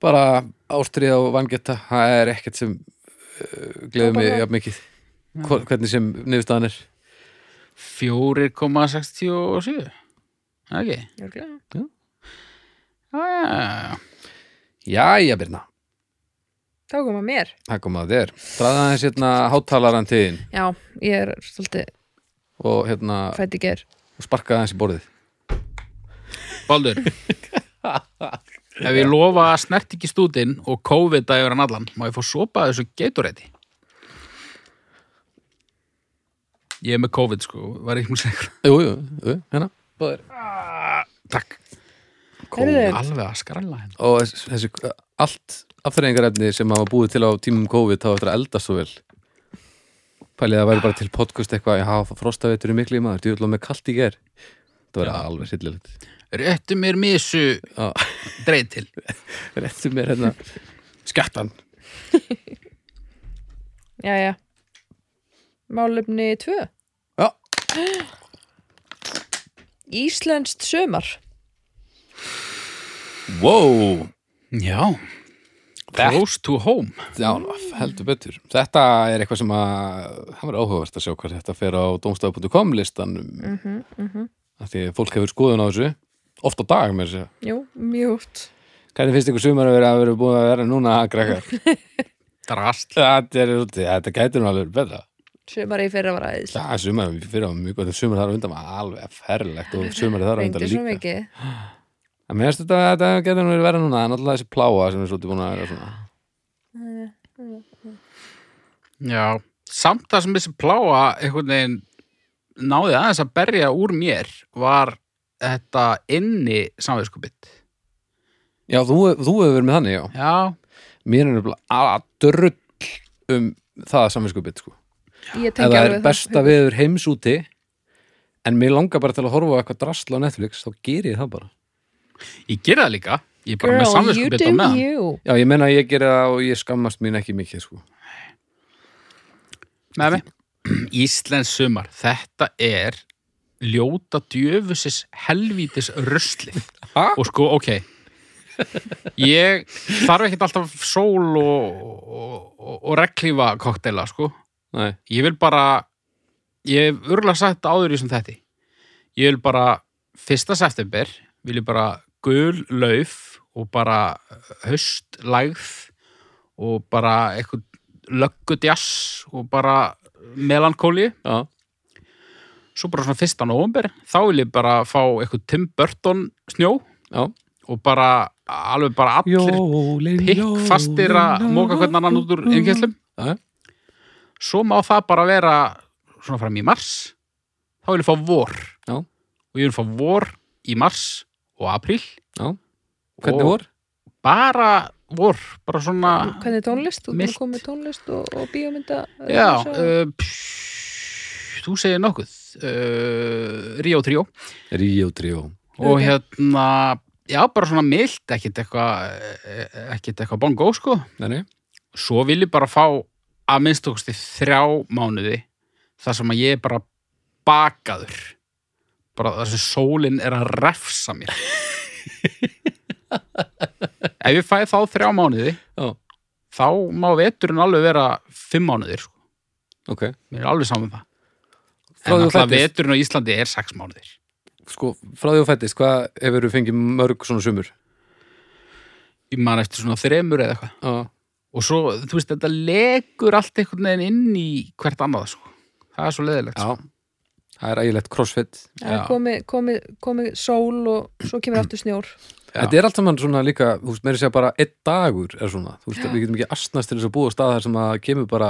Speaker 3: bara ástriða og vangetta það er ekkert sem uh, gleður mig
Speaker 2: Toppar það.
Speaker 3: jafn mikið Hvor- hvernig sem niðurstaðan er
Speaker 1: 4,67 Ok,
Speaker 2: Jörglega.
Speaker 1: já, já, já
Speaker 3: Jæja, Birna,
Speaker 2: Þá koma mér
Speaker 3: það kom að þér Draða aðeins hérna háttalaran tíðin
Speaker 2: Já, ég er svolítið
Speaker 3: og hérna
Speaker 2: fætt í ger
Speaker 3: sparkaði aðeins í borðið
Speaker 1: Baldur Ef ég lofa að snert ekki stúdinn og COVID að yfir hann allan má ég fá sopa af þessu geituræti Ég er með COVID sko var ekki mjög segur
Speaker 3: Jú, jú, jú, hérna Bóðir.
Speaker 1: Takk,
Speaker 2: Herðu,
Speaker 1: alveg að skralla hérna. henn
Speaker 3: og þess- þessi, allt afturreyingarefni sem hafa búið til á tímum COVID þá eftir að elda svo vel pælið að væri bara til podcast eitthvað ég hafa frostavetur í miklu í maður, djúðla með kalt í ger það verið alveg sillilegt
Speaker 1: Réttu mér misu dreið til
Speaker 3: réttu mér hérna skjattan
Speaker 2: já, já Málefni 2
Speaker 3: Já.
Speaker 2: Íslenskt sömar
Speaker 3: wow,
Speaker 1: Já Close to home
Speaker 3: já, heldur betur þetta er eitthvað sem að það verið áhugavert að sjá hvað þetta fer á domstafu.com listanum mm -hmm, því að fólk hefur skoðun á þessu oft á dag með þessu
Speaker 2: Jú, mjög oft
Speaker 3: hvernig finnst ykkur sumar að vera að vera búin að vera núna krakkar
Speaker 1: Drast
Speaker 3: Þetta er úti, þetta gæti nú alveg verið betra
Speaker 2: Sömar í fyrra var aðeins
Speaker 3: Það er sumar fyrir á mjög gott en sumar þar á undan var alveg ferlegt og sumar þar á undan
Speaker 2: Reyndi svo
Speaker 3: líka
Speaker 2: mikið
Speaker 3: En mér finnst þetta, þetta getur nú verið verið núna en alltaf þessi pláa sem er svolítið búin að vera svona
Speaker 1: Já, samt það sem þessi pláa einhvern veginn náði aðeins að berja úr mér var þetta inni samvegskupitt.
Speaker 3: Já, þú, þú hefur verið með þannig, já
Speaker 1: Já,
Speaker 3: Mér er nefnilega að drull um það samvinskupið, sko
Speaker 2: Ég
Speaker 3: Ef
Speaker 2: tengi
Speaker 3: það er
Speaker 2: alveg
Speaker 3: besta viður heims úti en mér langar bara til að horfa á eitthvað drasla á Netflix, þá geri ég það bara
Speaker 1: ég gera það líka. Ég er bara með
Speaker 2: Girl, you
Speaker 1: samvegskupitt á
Speaker 2: do
Speaker 1: meðan.
Speaker 2: you
Speaker 3: Já, ég menna að ég geri það og ég skammast mín ekki mikið, sko
Speaker 1: Með mig. Íslens sumar, þetta er ljóta djöfusis helvítis ruslið.
Speaker 3: Ha?
Speaker 1: Og sko, ok, ég þarf ekkert alltaf sól og, og, og, og reglífa kokteila, sko.
Speaker 3: Nei,
Speaker 1: ég vil bara ég hef örgulega sagt þetta áður í sem þetta ég vil bara fyrsta september vil ég bara gul lauf og bara höst lægð og bara eitthvað löggudjass og bara melankóli
Speaker 3: já,
Speaker 1: svo bara svona fyrsta november þá vil ég bara fá eitthvað Tim Burton snjó
Speaker 3: já
Speaker 1: og bara alveg bara allir
Speaker 3: Jólin,
Speaker 1: pikk fastir að móka hvern annan út úr innkjæslum
Speaker 3: Já.
Speaker 1: svo má það bara vera svona fram í mars þá vil ég fá vor
Speaker 3: Já.
Speaker 1: og ég vil fá vor í mars og apríl
Speaker 3: Hvernig
Speaker 1: Og-
Speaker 3: vor?
Speaker 1: bara vor, bara svona
Speaker 2: Hvernig tónlist? Þú
Speaker 1: Milt.
Speaker 2: Milt. komið tónlist og, og bíómynda
Speaker 1: já,
Speaker 2: og-
Speaker 1: uh, pss, þú segir nokkuð uh, Ríó Tríó
Speaker 3: Ríó tríó
Speaker 1: og
Speaker 2: Ok.
Speaker 1: hérna já, bara svona milt, ekkert eitthvað ekkert eitthvað bongo sko
Speaker 3: Nei, nei,
Speaker 1: svo vil ég bara fá að minnst okkusti þrjá mánuði þar sem að ég er bara bakaður bara þar sem sólin er að refsa mér ef ég fæ þá þrjá mánuði
Speaker 3: Já.
Speaker 1: þá má veturinn alveg vera fimm mánuðir sko.
Speaker 3: ok
Speaker 1: mér er alveg saman það
Speaker 3: Frá
Speaker 1: en
Speaker 3: því þú
Speaker 1: alltaf
Speaker 3: fæddist?
Speaker 1: veturinn á Íslandi er sex mánuðir
Speaker 3: sko, frá því að fættist, hvað hefur þú fengið mörg svona sumur?
Speaker 1: ég man eftir svona þremur eða eitthvað
Speaker 3: Já,
Speaker 1: og svo, þú veist, þetta legur allt einhvern veginn inn í hvert annað sko. það er svo leðilegt
Speaker 3: já. það er ægilegt crossfit
Speaker 2: Það er
Speaker 1: Já.
Speaker 2: komið, komið, komið sól og svo kemur aftur snjór
Speaker 1: Já.
Speaker 3: Þetta er allt saman svona líka, þú veist, meiri segja bara einn dagur er svona, þú veist,
Speaker 2: Já.
Speaker 3: við getum ekki astnast til þess að búa á stað þar sem að kemur bara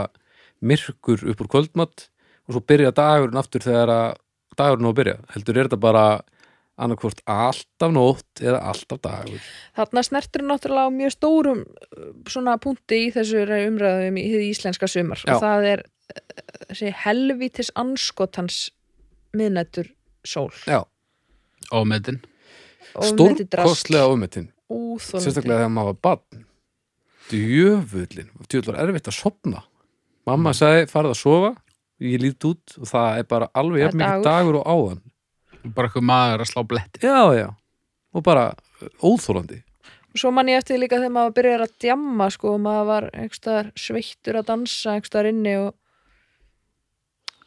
Speaker 3: myrkur upp úr kvöldmatt og svo byrja dagurinn aftur þegar að dagurinn á að byrja, heldur er þetta bara annarkvort alltaf nótt eða alltaf dagur
Speaker 2: Þarna snertur náttúrulega á mjög stórum uh, svona punkti í þessu umræðum í hið íslenska sumar
Speaker 3: Já.
Speaker 2: og það er uh, þessi helvítis anskotans miðnættur sól
Speaker 3: Já,
Speaker 1: og meðin
Speaker 3: stórkostlega ofmettin sérstaklega
Speaker 2: Úþólandi
Speaker 3: þegar maður var barn djöfullin, djöfull var erfitt að sopna mamma sagði farið að sofa ég lít út og það er bara alveg
Speaker 2: Það er
Speaker 3: jafn mikið dagur og áðan
Speaker 1: bara eitthvað maður að slá bletti
Speaker 3: já, já, og bara uh, óþólandi
Speaker 2: Svo man ég eftir því líka þegar maður byrjar að djamma sko og maður var einhverstaðar sveittur að dansa einhverstaðar inni og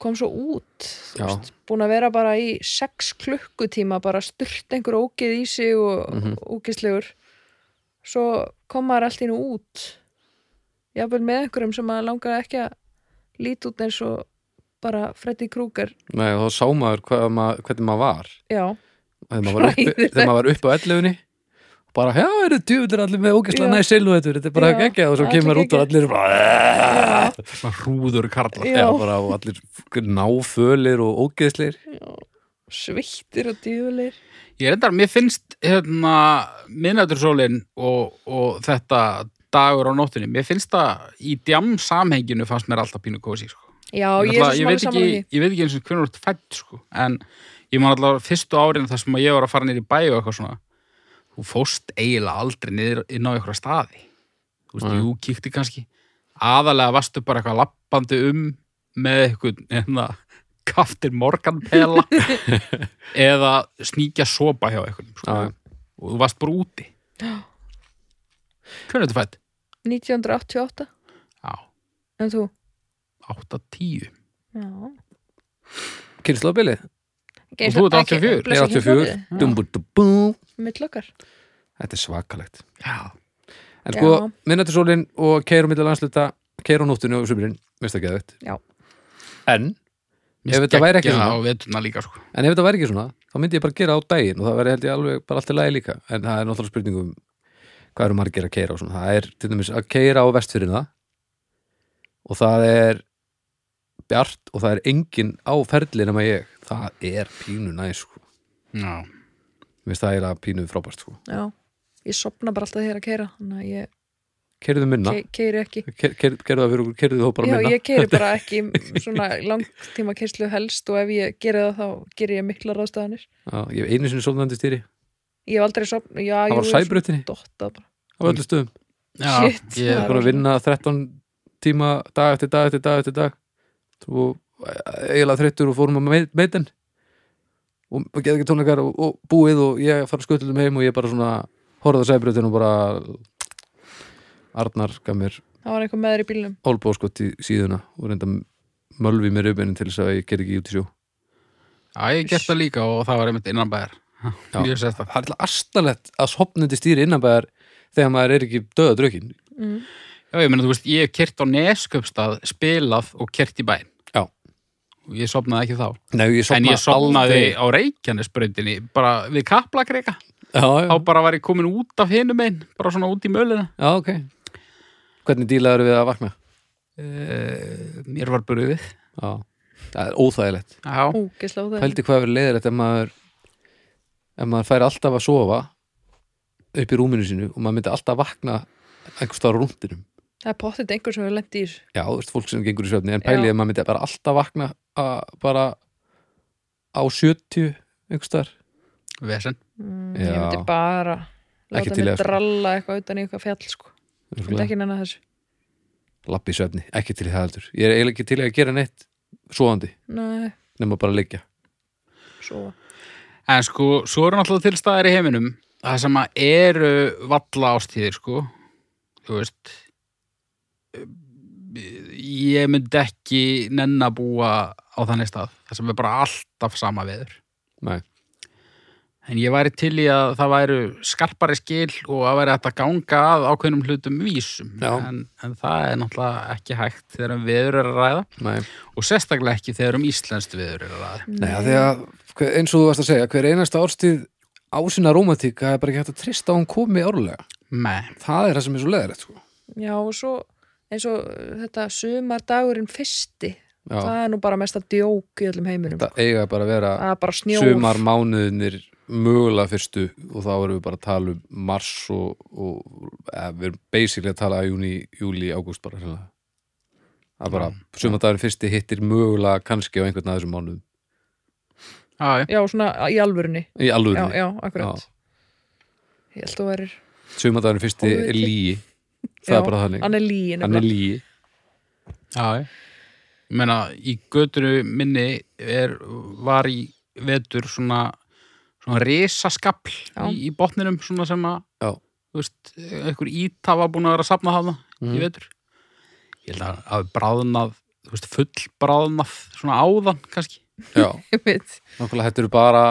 Speaker 2: kom svo út þú
Speaker 3: Já.
Speaker 2: veist, búin að vera bara í sex klukkutíma bara sturt einhver ógið í sig og
Speaker 3: Mhm.
Speaker 2: ógislegur svo kom maður allt í nú út jafnvel með einhverjum sem maður langaði ekki að líti út eins og bara Freddy Krueger
Speaker 3: Nei, og þá sá maður, hvað maður hvernig maður var
Speaker 2: já,
Speaker 3: þegar maður var uppi,
Speaker 2: Hræðilegt.
Speaker 3: þegar maður var uppi á ellefunni bara, já, eru djöfullir allir með ógisla
Speaker 2: Já.
Speaker 3: næ silhúettur, þetta er bara
Speaker 2: Já,
Speaker 3: ekki og svo
Speaker 2: allir
Speaker 3: kemur út og allir bara,
Speaker 1: svona hrúður karla
Speaker 2: Já.
Speaker 3: já, bara, og allir náfölir og ógislir
Speaker 2: sveittur og djúlir
Speaker 1: Ég reyndar, mér finnst hérna, minnætursólin og, og þetta dagur á nóttunni, mér finnst það í djam samhenginu fannst mér alltaf pínu kósi sko.
Speaker 2: já, ég er
Speaker 1: Náttúrulega, ég,
Speaker 2: svo sem alveg
Speaker 1: veit
Speaker 2: saman
Speaker 1: ekki,
Speaker 2: því
Speaker 1: ég veit ekki eins og hvernig þú ert fætt sko. en ég man alltaf fyrstu árin þar sem ég var að fara niður í bæ og eitthvað svona þú fóst eiginlega aldrei niður inn á einhverja staði þú veist,
Speaker 3: Nei.
Speaker 1: jú, kíkti kannski aðalega varstu bara eitthvað lappandi um með eitthvað hérna, kaftir morganpela eða sníkja sopa hjá eitthvað sko.
Speaker 3: Já, já.
Speaker 1: og þú varst bara úti
Speaker 2: Já.
Speaker 1: hvernig er þetta fætt?
Speaker 2: 1988,
Speaker 1: Já,
Speaker 2: en þú?
Speaker 1: 8-10
Speaker 2: Já.
Speaker 3: kynslóðbilið
Speaker 1: Og þú ert 84.
Speaker 3: Nei, 84, dumbu, dumbu.
Speaker 2: Mittlokkar.
Speaker 3: Þetta er svakalegt.
Speaker 1: Já,
Speaker 3: En
Speaker 2: Já.
Speaker 3: sko, minnatisólin og keirum millir landsluta, keirum nóttinu og sumurinn, veist það geðvægt.
Speaker 2: Já.
Speaker 3: En, Ef þetta væri ekki
Speaker 1: svona
Speaker 3: svona.
Speaker 1: á veturna líka sko
Speaker 3: en ef þetta væri ekki svona, þá myndi ég bara gera á daginn og það væri held ég alveg bara allt í lagi líka. En það er náttúrulega spurningum hvað eru margir að keira og svona. Það er til dæmis að keira á vestfyrirna og það er bjart og það er engin á ferli nema ég. Það er pínu næs, sko.
Speaker 1: Já.
Speaker 3: Mér finnst það eiginlega pínu frábært, sko.
Speaker 2: Já. Ég sopna bara alltaf þegar að keira, þannig að ég
Speaker 3: Keirðu minna?
Speaker 2: ke keiri ekki.
Speaker 3: Ke- keir- Gerðu það fyrir okkur, keirðu þú bara
Speaker 2: Já,
Speaker 3: minna?
Speaker 2: ég keiri bara ekki svona langtíma kynslu helst og ef ég geri það þá geri ég mikla ráðstæðanir.
Speaker 3: Já, ég hef einu sinni sofnandi stýri
Speaker 2: Ég hef aldrei sopna, já,
Speaker 3: Það
Speaker 2: ég
Speaker 3: var á sæbrutinni
Speaker 2: dottað bara.
Speaker 3: á öllu stöðum
Speaker 1: Já,
Speaker 2: Shit,
Speaker 1: ég,
Speaker 2: maður.
Speaker 3: Búin að vinna 13 tíma dag eftir dag eftir dag eftir dag og e, eiginlega þreyttur og fórum að meit- meitin og geða ekki tónleikar og, og búið og ég fara skuttlutum heim og ég bara svona horfði að sæbrutin og bara Arnar gaf mér
Speaker 2: Það var einhver meður í bílnum.
Speaker 3: olbóskott í síðuna og reynda mölvi mér uppinni til þess að ég ger ekki út í sjó
Speaker 1: já, ég hef gert það líka og það var einmitt innan bæðar Mjög sérstakt.
Speaker 3: Það er alltaf astalegt að sopnandi stýri innanbæðar þegar maður er ekki döða draukin
Speaker 2: Mm.
Speaker 1: Já, ég meina, þú veist, ég hef kert á Nesköpstað spilað og kert í bæn
Speaker 3: Já.
Speaker 1: og ég sofnaði ekki þá
Speaker 3: Nei, ég sopna
Speaker 1: en ég sofnaði
Speaker 3: aldrei.
Speaker 1: á Reykjanesbrautinni bara við Kaplakrika
Speaker 3: já, já,
Speaker 1: þá bara var ég komin út af hinum einn bara svona út í mölina
Speaker 3: já, ok Hvernig dílaður við að vakna?
Speaker 1: uh, mér var brugðið
Speaker 3: Já, það er óþægilegt
Speaker 1: já,
Speaker 2: Úgisla á það.
Speaker 3: Pældi hvað verið leiðilegt ef maður ef maður fær alltaf að sofa upp í rúminu sínu og maður myndi alltaf vakna einhvers staðar á rúndinum
Speaker 2: Það er pottit einhver sem hefur lent í þessu.
Speaker 3: Já, þú veist, fólk sem gengur í svefni en
Speaker 2: Já.
Speaker 3: pælið ef maður myndi bara alltaf vakna að, bara á 70 einhvers staðar
Speaker 1: vesen
Speaker 2: Mm, ég
Speaker 3: Já.
Speaker 2: myndi bara
Speaker 3: Ekki
Speaker 2: láta
Speaker 3: til í
Speaker 2: mig
Speaker 3: það, sko.
Speaker 2: dralla eitthvað utan í eitthvað fjall, sko. Ég myndi ekki nennan þessu.
Speaker 3: Lappi í svefni, ekki til í það heldur Ég er eiginlega ekki til í að gera neitt svoandi,
Speaker 2: Nei,
Speaker 3: nema bara að liggja
Speaker 2: svo
Speaker 1: En sko, svo eru náttúrulega til staðar í heiminum það sem að eru valla ástíðir, sko þú veist ég myndi ekki nenn að búa á þannig stað það sem er bara alltaf sama veður
Speaker 3: Nei.
Speaker 1: En ég væri til í að það væru skarpari skil og að væri hægt að ganga að ákveðnum hlutum vísum
Speaker 3: Já.
Speaker 1: en, en það er náttúrulega ekki hægt þegar um veður er að ræða
Speaker 3: Nei.
Speaker 1: og sérstaklega ekki þegar um íslenskt veður er að ræða
Speaker 3: Nei, af því að hver- eins og þú varst að segja, hver einasta árstíð á sína rómatík, það er bara ekki hægt að trista að hún komi árlega.
Speaker 1: Nei,
Speaker 3: Það er það sem er svo leðrætt, sko.
Speaker 2: Já, og svo eins og uh, þetta sumardagurinn fyrsti
Speaker 3: Já,
Speaker 2: það er nú bara mesta djók í öllum heiminum
Speaker 3: það eiga bara að vera
Speaker 2: það er bara snjór
Speaker 3: sumar mánuðinir mögulega fyrstu og þá erum við bara að tala um mars og, og eða, við erum basically að tala að júni, júli, ágúst bara hérna. Það er bara, sumardagurinn fyrsti hittir mögulega kannski á einhvern að þessum mánuðum.
Speaker 1: já, já
Speaker 2: Já, svona í alvörunni
Speaker 3: Í
Speaker 2: Já,
Speaker 3: alvörinni.
Speaker 2: já, akkurat Ég held þú verir
Speaker 3: Sumardagurinn fyrsti er
Speaker 2: Óviti.
Speaker 3: líi. Það
Speaker 2: Já,
Speaker 3: er bara þannig.
Speaker 2: Hann er líin
Speaker 3: Hann er líi.
Speaker 1: Já, ég meina, í götturu minni er, var í vetur svona, svona risaskapl
Speaker 2: Já.
Speaker 1: í, í botninum svona sem að
Speaker 3: Já.
Speaker 1: þú veist, einhver íta var búin að vera að safna hana
Speaker 3: Mhm.
Speaker 1: í vetur ég held að hafi bráðnað þú veist, fullbráðnað svona áðan kannski
Speaker 3: Já.
Speaker 2: líin
Speaker 3: Nákvæmlega, þetta eru bara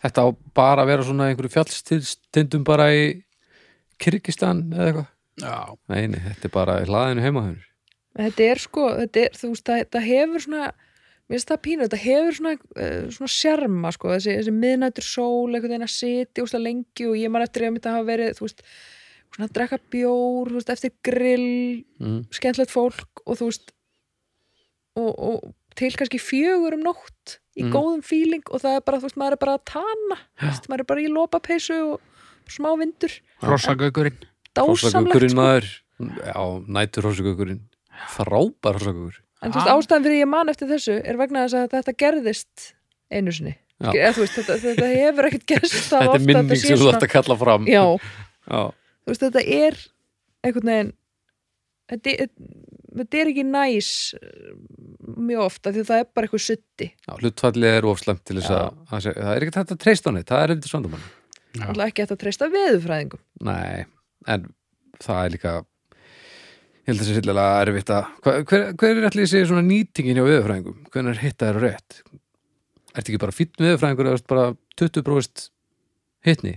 Speaker 3: þetta á bara að vera svona einhverju fjallstindum bara í Kyrkistan eða eitthvað
Speaker 1: Já,
Speaker 3: Nei, nei, þetta er bara í hlaðinu heima hennur
Speaker 2: Þetta er sko, þetta er, þú veist, það, það hefur svona, mér finnst það pínu, þetta hefur svona, uh, svona sjarma, sko, þessi, þessi miðnættur sól, einhvern veginn að sitja úst að lengi og ég man eftir að þetta hafa verið, þú veist, svona að drekka bjór, þú veist, eftir grill,
Speaker 3: mm.
Speaker 2: skemmtilegt fólk og þú veist, og, og til kannski fjögur um nótt í
Speaker 3: Mm.
Speaker 2: góðum fíling og það er bara, þú veist, maður er bara að tana, þú veist, maður er bara í lopapeysu og smá vindur,
Speaker 1: hrossagaukurinn
Speaker 2: dásamlegt,
Speaker 3: Hrossagökurinn
Speaker 2: sko.
Speaker 3: maður Já, nætur hrossagökurinn Frábær hrossagökur
Speaker 2: En þú veist,
Speaker 1: Ah.
Speaker 2: ástæðan fyrir ég man eftir þessu er vegna þess að þetta gerðist einu sinni.
Speaker 3: Já.
Speaker 2: Eða, þú veist, þetta, þetta hefur ekkert gerst það
Speaker 3: Þetta
Speaker 2: oft
Speaker 3: er
Speaker 2: að
Speaker 3: minning
Speaker 2: sé
Speaker 3: sem þú ætti að kalla fram
Speaker 2: Já,
Speaker 3: Já,
Speaker 2: þú veist, þetta er einhvern veginn þetta er- þetta er ekki næs eh, mjög ofta því það er bara eitthvað sutti.
Speaker 3: já hlutfallið er ofslæmt til þess að, að segja, það er ekkert hægt að treysta hann það er eftir svandamann
Speaker 1: Já.
Speaker 2: Það er ekki hægt að treysta veðufræðingum.
Speaker 3: Nei, en það er líka ég held að það sé hillilega erfitt að hva- hver, hver er allir þessi svona nýtingin hjá viðurfræðingum? Hvernig hitta þér rétt? Ertu ekki bara fýtt viðurfræðingur eða ertu bara 20% hittni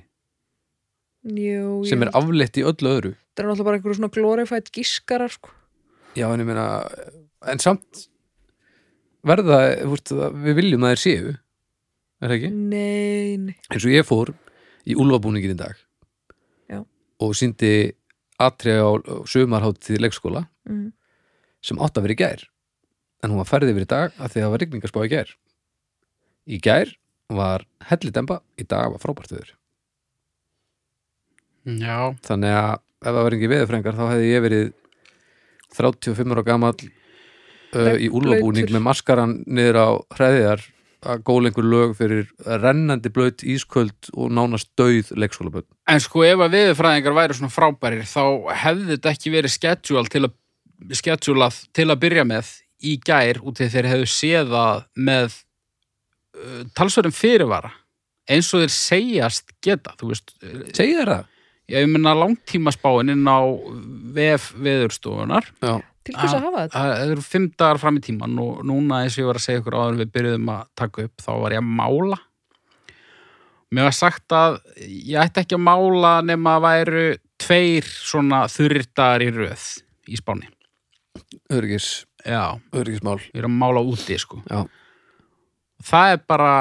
Speaker 2: Jú, ég
Speaker 3: sem er
Speaker 2: held-
Speaker 3: afleitt í öllu öðru?
Speaker 2: þetta er náttúrulega bara einhverju svona glorified gískarar, sko.
Speaker 3: Já, en ég meina en samt verða, þú veist, það- við viljum að þér séu er það ekki?
Speaker 2: Nei, nei.
Speaker 3: Eins og ég fór í úlfabúningin í dag
Speaker 2: Já.
Speaker 3: og síndi atrið á sömarháttið leikskóla
Speaker 2: Mm.
Speaker 3: sem átt að vera í gær en hún var færði yfir í dag af því að það var rigningarspá í gær í gær var hellidemba í dag var frábært viður
Speaker 1: Já,
Speaker 3: þannig að ef það var engi veðurfrengar þá hefði ég verið 35 ára gamall uh, í úlfabúning
Speaker 2: Blautur.
Speaker 3: með maskaran niður á hreðiðar að góla einhver lög fyrir rennandi blöyt ísköld og nánast döið leikskólaböld
Speaker 1: en sko ef að veðurfræðingar væri svona frábærir þá hefði þetta ekki verið schedule til að, schedulað til að byrja með í gær út í þeir hefðu séð að með uh, talsverðum fyrirvara eins og þeir segjast geta þú veist, uh,
Speaker 3: segir þér það?
Speaker 1: ég meina langtímaspáin inn á VF veðurstofunar
Speaker 3: Já,
Speaker 2: Til hvers að
Speaker 1: Ah,
Speaker 2: hafa þetta?
Speaker 1: það það eru fimm dagar fram í tíman og núna eins og ég var að segja ykkur áður en við byrjuðum að taka upp þá var ég að mála mér var sagt að ég ætti ekki að mála nema að væru tveir svona þurrir dagar í röð í spáni
Speaker 3: öryggis,
Speaker 1: já,
Speaker 3: öryggismál
Speaker 1: ég er að mála úti sko
Speaker 3: Já.
Speaker 1: það er bara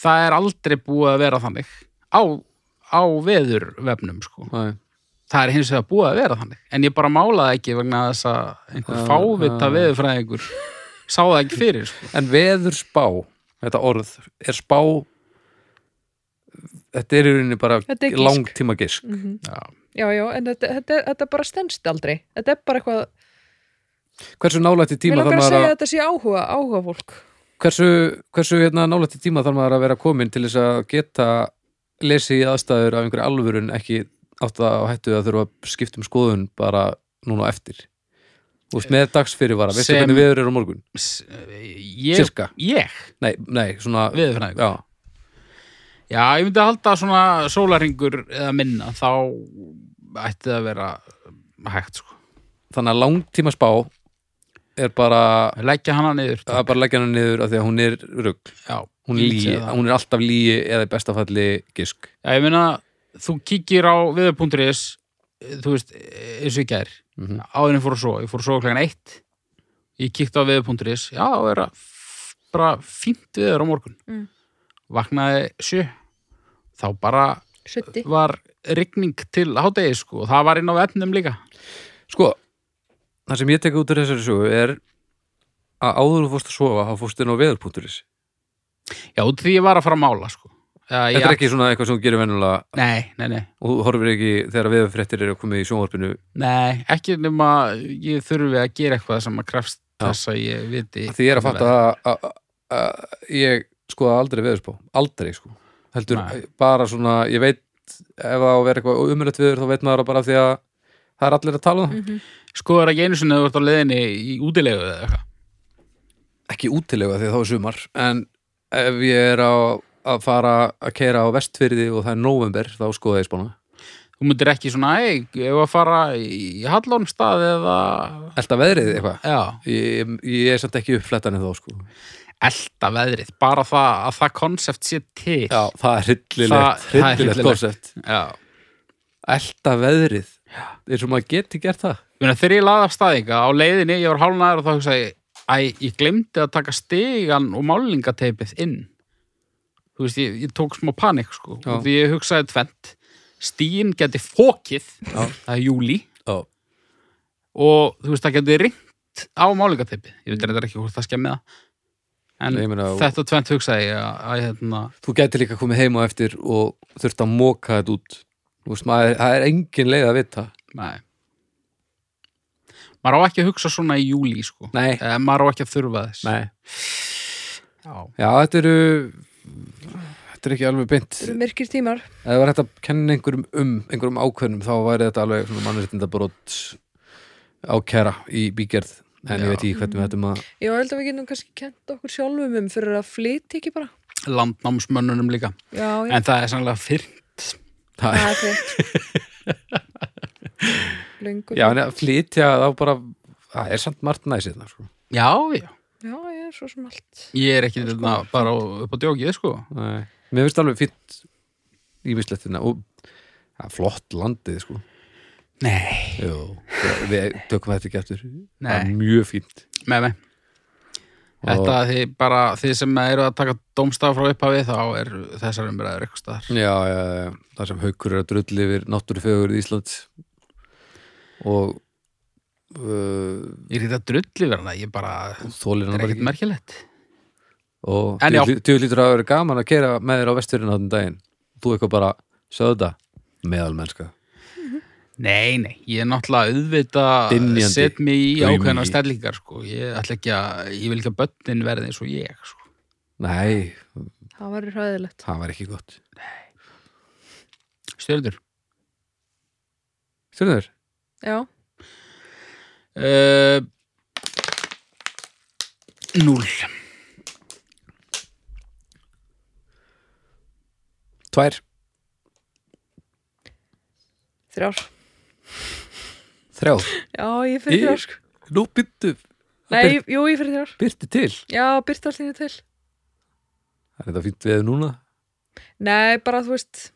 Speaker 1: það er aldrei búið að vera þannig á, á veðurvefnum sko
Speaker 3: Æ,
Speaker 1: það er hins vegar búið að vera þannig en ég bara málaði ekki vegna þess að einhver
Speaker 3: Já,
Speaker 1: fávita
Speaker 3: já.
Speaker 1: veðurfræðingur sá það ekki fyrir sko.
Speaker 3: En veður spá, þetta orð, er spá, þetta er í rauninni bara
Speaker 2: Þetta er gísk.
Speaker 3: langtíma gisk.
Speaker 2: Mhm.
Speaker 1: Já.
Speaker 2: Já, já, en þetta, þetta, þetta bara stendst aldrei. Þetta er bara eitthvað,
Speaker 3: Hversu nálætti
Speaker 2: mér
Speaker 3: tíma
Speaker 2: langar
Speaker 3: þarf
Speaker 2: að
Speaker 3: maður
Speaker 2: segja
Speaker 3: að,
Speaker 2: að þetta sé áhuga, áhuga fólk.
Speaker 3: hversu, hversu hérna, nálætti tíma þarf maður að vera komin til þess að geta lesið í aðstæður af einhverju alvörun ekki átt að hættu að þurfa að skipta um skoðun bara núna á eftir. Þú veist, með dagsfyrirvara, veistu
Speaker 1: Sem-
Speaker 3: hvernig viður eru á morgun?
Speaker 1: S- ég,
Speaker 3: Cirka.
Speaker 1: ég,
Speaker 3: Nei, nei, svona
Speaker 1: viðurfræðingur
Speaker 3: Já,
Speaker 1: já, ég myndi að halda svona sólaringur eða minna, þá ætti það að vera hægt sko.
Speaker 3: þannig að langtíma spá er bara
Speaker 1: leggja hana niður
Speaker 3: að bara leggja hana niður af því að hún er rugg
Speaker 1: já,
Speaker 3: hún,
Speaker 1: ég
Speaker 3: lígi,
Speaker 1: segi það.
Speaker 3: hún er alltaf lígi eða í besta falli gisk
Speaker 1: Já, ég meina, þú kíkir á viður.is, þú veist, eins og ég gær,
Speaker 3: Mhm.
Speaker 1: áður en ég fór að svo, ég fór að svo klokkan eitt, ég kíkti á viður.is, já, það er að f- bara fínt viður á morgun.
Speaker 2: Mm.
Speaker 1: Vaknaði sjö, þá bara
Speaker 2: Sutti.
Speaker 1: var rigning til hádegi, sko, og það var inn á vefnum líka.
Speaker 3: sko, það sem ég tek út úr þessari sögu er að áður þú fórst að sofa þá fórst inn á veður.is
Speaker 1: Já, út af því ég var að fara að mála, sko. Já,
Speaker 3: þetta er ekki svona eitthvað sem þú gerir venulega
Speaker 1: Nei, nei, nei,
Speaker 3: og þú horfir ekki þegar veðurfréttir eru komið í sjónvarpinu
Speaker 1: nei, ekki nema ég þurfi að gera eitthvað sem að krefst
Speaker 3: Já.
Speaker 1: þess að ég viti.
Speaker 3: því ég er að fatta að- að að ég skoða aldrei veðurspá aldrei sko, heldur
Speaker 1: Nei.
Speaker 3: bara svona, ég veit ef það á að vera eitthvað umrætt viður þá veit maður það bara af því að það er allir að tala um það
Speaker 1: Sko er ekki einu sinni að þú ert á leiðinni í útilegu eða eitthvað.
Speaker 3: ekki útilega því að þá er sumar en ef ég er á, að fara að keira á vestfyrði og það er november þá skoða ég spána
Speaker 1: Þú myndir ekki svona, ei, ég var að fara í Hallónstað eða...
Speaker 3: Elta veðrið eitthvað
Speaker 1: Já,
Speaker 3: ég, ég er samt ekki uppflettan en þá sko
Speaker 1: elta veðrið, bara það að það konsept sé til.
Speaker 3: Já, það er
Speaker 1: Það-
Speaker 3: hryllilegt,
Speaker 1: það er
Speaker 3: hryllilegt
Speaker 1: hryllilegt.
Speaker 3: koncept
Speaker 1: Já.
Speaker 3: Elta veðrið eins og maður geti gert það
Speaker 1: Ég meina, þegar ég laði af staðinga á leiðinni, ég var hálnaður og þá hugsaði, ég, æ, ég glemdi að taka stegan og málingateipið inn. Þú veist, ég, ég tók smá panik, sko.
Speaker 3: Já.
Speaker 1: Því ég hugsaði tvent, stíin geti fókið,
Speaker 3: Já.
Speaker 1: það er júli,
Speaker 3: Já,
Speaker 1: og þú veist, það getur ringt á málingateipið. Ég veit reyndar ekki hvort það skemmið það. En
Speaker 3: Nei, ég meina,
Speaker 1: þetta tvent hugsaði ég að, að hérna,
Speaker 3: þú geti líka komið heima eftir og þurft að móka þetta út Þú veist, maður, það er engin leið að vita
Speaker 1: nei. Maður á ekki að hugsa svona í júli, sko.
Speaker 3: Nei,
Speaker 1: Eh, maður á ekki að þurfa þess.
Speaker 3: nei
Speaker 1: Já.
Speaker 3: Já, þetta eru Þetta er ekki alveg beint
Speaker 2: Eru Myrkir tímar.
Speaker 3: Ef það var hægt að kenna einhverjum um einhverjum ákveðnum þá væri þetta alveg svona mannréttinda brot ákæra í bígerð en
Speaker 1: Já.
Speaker 3: ég veit ekki hvernig við hættum að
Speaker 2: Ég held að við getum kannski kent okkur sjálfum um fyrir að flytja ekki bara.
Speaker 1: Landnámsmönnunum líka.
Speaker 2: Já, já.
Speaker 1: En það er sannlega fyrnt.
Speaker 3: það,
Speaker 2: Það er frétt. Lengur.
Speaker 3: Já, en að flytja þá bara það er samt margt næsið sko.
Speaker 1: Já, já.
Speaker 2: Já, já, svo sem allt.
Speaker 1: Ég er ekki þetta bara á- upp á djókið, sko.
Speaker 3: Nei. Mér finnst alveg fínt í mislettina og ja, flott landið sko.
Speaker 1: Nei.
Speaker 3: Jó, við, við tökum þetta ekki eftir það er
Speaker 1: Nei.
Speaker 3: mjög fínt
Speaker 1: Með með. Þetta þið bara, þið sem eru að taka dómstaf frá upphafi þá er þessar umræður eitthvað staðar.
Speaker 3: Já, já, já, það sem haukur er að drulli yfir náttúrufegur í Íslands og uh,
Speaker 1: Ég er ekki að drulli verðan það, ég bara,
Speaker 3: þólir
Speaker 1: það
Speaker 3: hann
Speaker 1: er
Speaker 3: bara
Speaker 1: ekkert
Speaker 3: ekki
Speaker 1: merkilegt.
Speaker 3: og
Speaker 1: En
Speaker 3: þú- þú lítur að vera gaman að kera með þér á vesturinn á þenn daginn þú eitthvað bara, sögðu þetta meðalmennska
Speaker 1: Nei, nei, ég er náttúrulega auðvitað
Speaker 3: Dynjandi,
Speaker 1: set mig í
Speaker 3: aumingi.
Speaker 1: ákveðna stellingar, sko. Ég ætla ekki að, ég vil ekki að börnin verði eins og ég, sko.
Speaker 3: Nei,
Speaker 2: Það var hræðilegt.
Speaker 3: það var ekki gott
Speaker 1: Stjörður.
Speaker 3: Stjörnur,
Speaker 2: Já,
Speaker 1: Uh, núl.
Speaker 3: tvær,
Speaker 2: þrjár.
Speaker 3: þrjá
Speaker 2: Já, ég fyrir
Speaker 3: Í-
Speaker 2: þrjár, sko.
Speaker 3: Nú byrtu,
Speaker 2: Nei, ég- jú, ég fyrir þrjár.
Speaker 3: byrtu til
Speaker 2: Já, byrta allir til.
Speaker 3: Það er þetta fínt við núna
Speaker 2: Nei, bara þú veist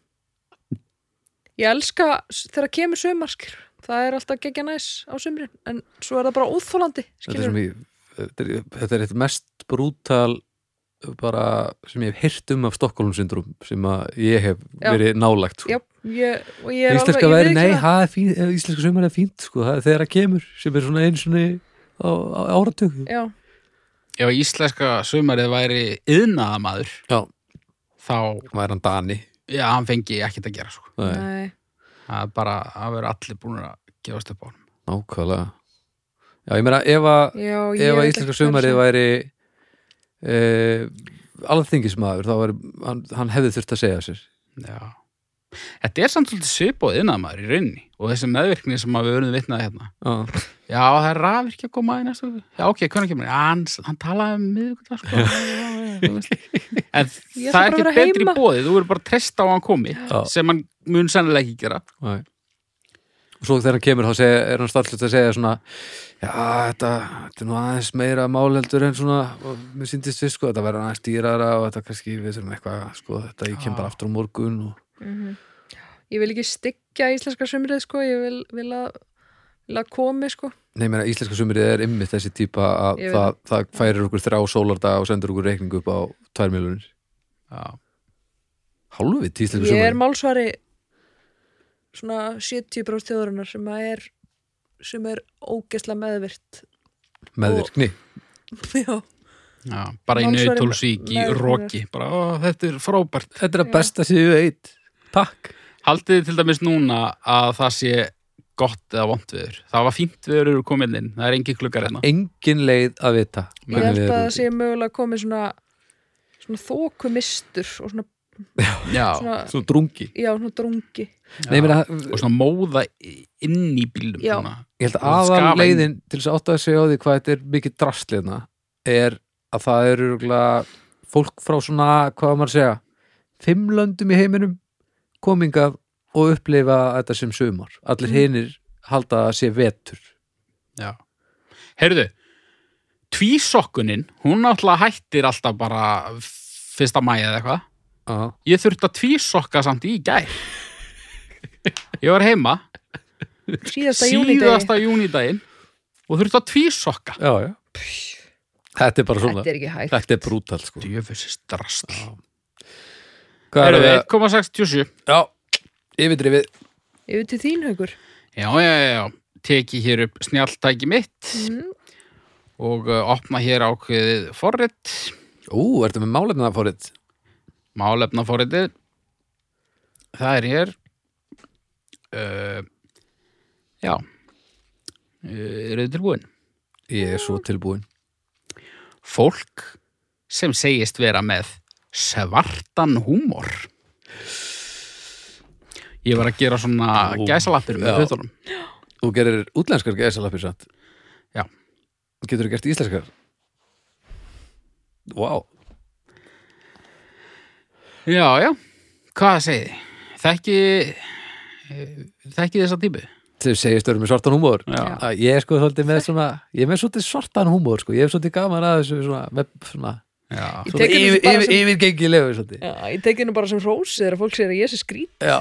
Speaker 2: Ég elska s- þegar kemur sömarskir Það er alltaf gegja næs á sömrin En svo er það bara óþólandi
Speaker 3: þetta er, sem ég, þetta er- þetta er eitt mest brútal bara sem ég hef heyrt um af Stockholm syndrom sem að ég hef
Speaker 2: Já.
Speaker 3: verið nálægt sko.
Speaker 2: Já, ég, og ég er
Speaker 3: íslenska
Speaker 2: alveg-
Speaker 3: verið,
Speaker 2: ég
Speaker 3: nei,
Speaker 2: viðurkenni það.
Speaker 3: það er fínt eh, íslenska sumar er fínt, sko, það er þegar það kemur sem er svona einu svona á, á áratug
Speaker 2: Já,
Speaker 1: Ef íslenska sumarið væri yðnaðamaður,
Speaker 3: já,
Speaker 1: þá
Speaker 3: væri hann Dani
Speaker 1: Já, hann fengi ekkert að gera sko.
Speaker 3: Nei,
Speaker 2: nei,
Speaker 1: Það er bara, það verður allir búin að gefast upp á hann.
Speaker 3: nákvæmlega já, ég meina, ef að
Speaker 2: já ég
Speaker 3: ef
Speaker 2: veit
Speaker 3: að
Speaker 2: ekki
Speaker 3: íslenska
Speaker 2: hvað
Speaker 3: sumarið
Speaker 2: er að
Speaker 3: væri e, uh, alþingismæður þá var, hann, hann hefði þurft að segja af sér
Speaker 1: Já. Þetta er samt svolítið svipað innamæður í rauninni og þessi meðvirkni sem að við verðum vitnaði hérna.
Speaker 3: Já.
Speaker 1: Já, það er rafvirkja að koma í næstu viku. Já, ok, hvernig kemur? Já, hann, hann talaði um miðvikudag, sko.
Speaker 2: Þú veist.
Speaker 1: En
Speaker 2: Ég ætla
Speaker 1: það er
Speaker 2: bara að
Speaker 1: ekki
Speaker 2: vera
Speaker 1: betri
Speaker 2: heima.
Speaker 1: bóðið, þú verður bara að treysta á að hann komi,
Speaker 3: Já.
Speaker 1: sem hann mun sennilega ekki gera.
Speaker 3: Nei. og svo þegar hann kemur þá segja, er hann starfslut að segja svona já, þetta, þetta er nú aðeins meira málheldur en svona, og mér síndist við sko þetta verður aðeins dýrara og þetta kannski við þurfum eitthvað, sko, þetta ég kem bara aftur á morgun og,
Speaker 2: Ég vil ekki styggja íslenska sumrið sko, ég vil, vil, að, vil að komi sko.
Speaker 3: nei, mér að íslenska sumrið er ymmið þessi típa að
Speaker 2: Ég veit
Speaker 3: það, það færir okkur þrjá sólardaga og sendur okkur reikningu upp á tvær miljonir,
Speaker 1: Já.
Speaker 3: hálfið til íslenska
Speaker 2: Ég er
Speaker 3: sumrið
Speaker 2: málsvari svona 70 bróð þjóðurinnar sem að er sem er ógesla meðvirt
Speaker 3: meðvirkni
Speaker 2: Já,
Speaker 1: Já, bara í
Speaker 2: Málsvari
Speaker 1: nauðtólsvík í
Speaker 2: meðvirkni.
Speaker 1: roki. Bara, ó, þetta er frábært.
Speaker 3: þetta er
Speaker 2: Já.
Speaker 3: að besta séu eitt, takk
Speaker 1: Haldið þið til dæmis núna að það sé gott eða vont viður? Það var fínt viður eru komin inn, það er engi klukkar hérna.
Speaker 3: engin leið að vita
Speaker 2: ég
Speaker 3: hvernig
Speaker 2: held
Speaker 3: við
Speaker 2: að
Speaker 3: erum
Speaker 2: það
Speaker 3: úti.
Speaker 2: sé mögulega komið svona svona þókumistur og svona,
Speaker 1: Já,
Speaker 2: svona,
Speaker 3: svona drungi
Speaker 2: já, svona drungi
Speaker 3: Nei,
Speaker 1: já.
Speaker 3: meina,
Speaker 1: og svona móða í- inn í bílum.
Speaker 2: Já.
Speaker 1: svona.
Speaker 3: ég held
Speaker 1: Og
Speaker 3: að aðal
Speaker 1: skafa inn.
Speaker 3: leiðin til þess að átta að segja á því hvað þetta er mikið drastliðna er að það eru örugglega fólk frá svona, hvað á maður að segja fimm löndum í heiminum komingað og upplifa þetta sem sumar
Speaker 2: Mm.
Speaker 3: allir hinir halda að sé vetur
Speaker 1: Já. Heyrðu, tvísokkunin, hún náttúrulega hættir alltaf bara fyrsta mæja eða eitthvað.
Speaker 3: Aha.
Speaker 1: Ég þurfti að tvísokka samt í gær. Ég var heima
Speaker 2: síðasta júni
Speaker 1: síðasta júnidaginn og þurfti að tvísokka.
Speaker 3: já, já. þetta er bara svona
Speaker 2: þetta er ekki hægt
Speaker 3: þetta er brútal sko
Speaker 1: Djöfusist drast.
Speaker 3: hvað er
Speaker 1: Heyrðu,
Speaker 3: það?
Speaker 1: 1,67.
Speaker 3: já, yfirdrifið
Speaker 2: yfir til þín haugur
Speaker 1: Já, já, já, já. Teki hér upp snjáltæki mitt
Speaker 2: mm.
Speaker 1: og uh, opna hér ákveðið forrit,
Speaker 3: ú, ertu með málefna að fórið
Speaker 1: málefna forritið. Það er hér. Uh, já. Uh, Eru þið tilbúin?
Speaker 3: ég er svo tilbúin
Speaker 1: Fólk sem segist vera með svartan húmor. Ég var að gera svona
Speaker 3: Ó,
Speaker 1: gæsalappir með
Speaker 3: já.
Speaker 1: hlutunum.
Speaker 3: þú gerir útlenskar gæsalappir satt
Speaker 1: Já.
Speaker 3: getur þú gert íslenskar wow.
Speaker 1: Já, já. Hvað segið þið? Þekki, eh, þekki þessa típu?
Speaker 3: þeir segist þau eru með svartan húmór
Speaker 1: Já.
Speaker 3: ég er sko svolítið með svona ég er með svolítið svartan húmór sko. ég er svolítið gaman að þessu svona, með, svona,
Speaker 1: Já.
Speaker 2: Ég
Speaker 3: svona
Speaker 2: tek þetta
Speaker 3: yfir,
Speaker 2: bara
Speaker 3: yfir,
Speaker 2: sem-
Speaker 3: yfirgengilegu svolítið
Speaker 2: já, ég tekið nú bara sem rósi þegar fólk segir að ég sé skrít
Speaker 3: já.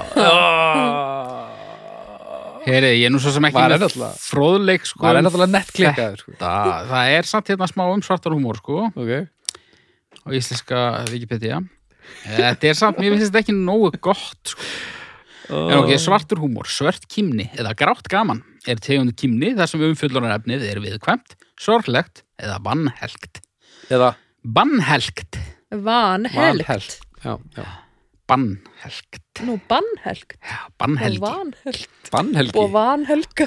Speaker 1: Heyri, ég er nú svo sem ekki
Speaker 3: Maður er
Speaker 1: með
Speaker 3: náttúrulega-
Speaker 1: fróðleik sko,
Speaker 3: það er náttúrulega nettklikkaður sko.
Speaker 1: það, það er samt hérna smá um svartar húmór sko,
Speaker 3: okay.
Speaker 1: á íslenska Wikipedia Þetta er samt, mér finnst þetta ekki nógu gott sko. En ok, svartur húmór, svört kímni eða grátt gaman er tegund kímni þar sem umfullunarefnið er viðkvæmt, sorglegt eða bannhelgt
Speaker 3: eða
Speaker 1: Bannhelgt,
Speaker 2: vanhelgt
Speaker 3: vanhelgt. já, já.
Speaker 1: bannhelgt
Speaker 2: nú bannhelgt
Speaker 1: Já,
Speaker 2: og
Speaker 1: Bannhelgi
Speaker 2: vanhelgt
Speaker 3: bannhelgi
Speaker 2: og vanhelga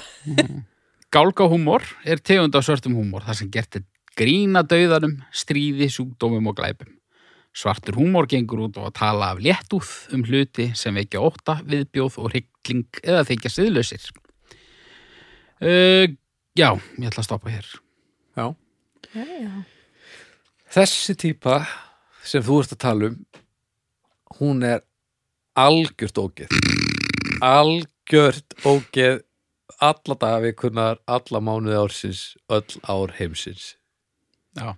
Speaker 1: Gálgahúmor er tegund af svörtum húmor þar sem gert er grína dauðanum, stríði, sjúkdómum og glæpum. Svartur húmor gengur út á að tala af léttúð um hluti sem vekja óta, viðbjóð og hryggling eða þykja siðlausir. Uh, já, ég ætla að stoppa hér.
Speaker 3: já.
Speaker 2: já, já.
Speaker 3: þessi típa sem þú ert að tala um hún er algjört ógeð algjört ógeð alla dagavikunar, alla mánuði ársins öll ár heimsins
Speaker 1: Já.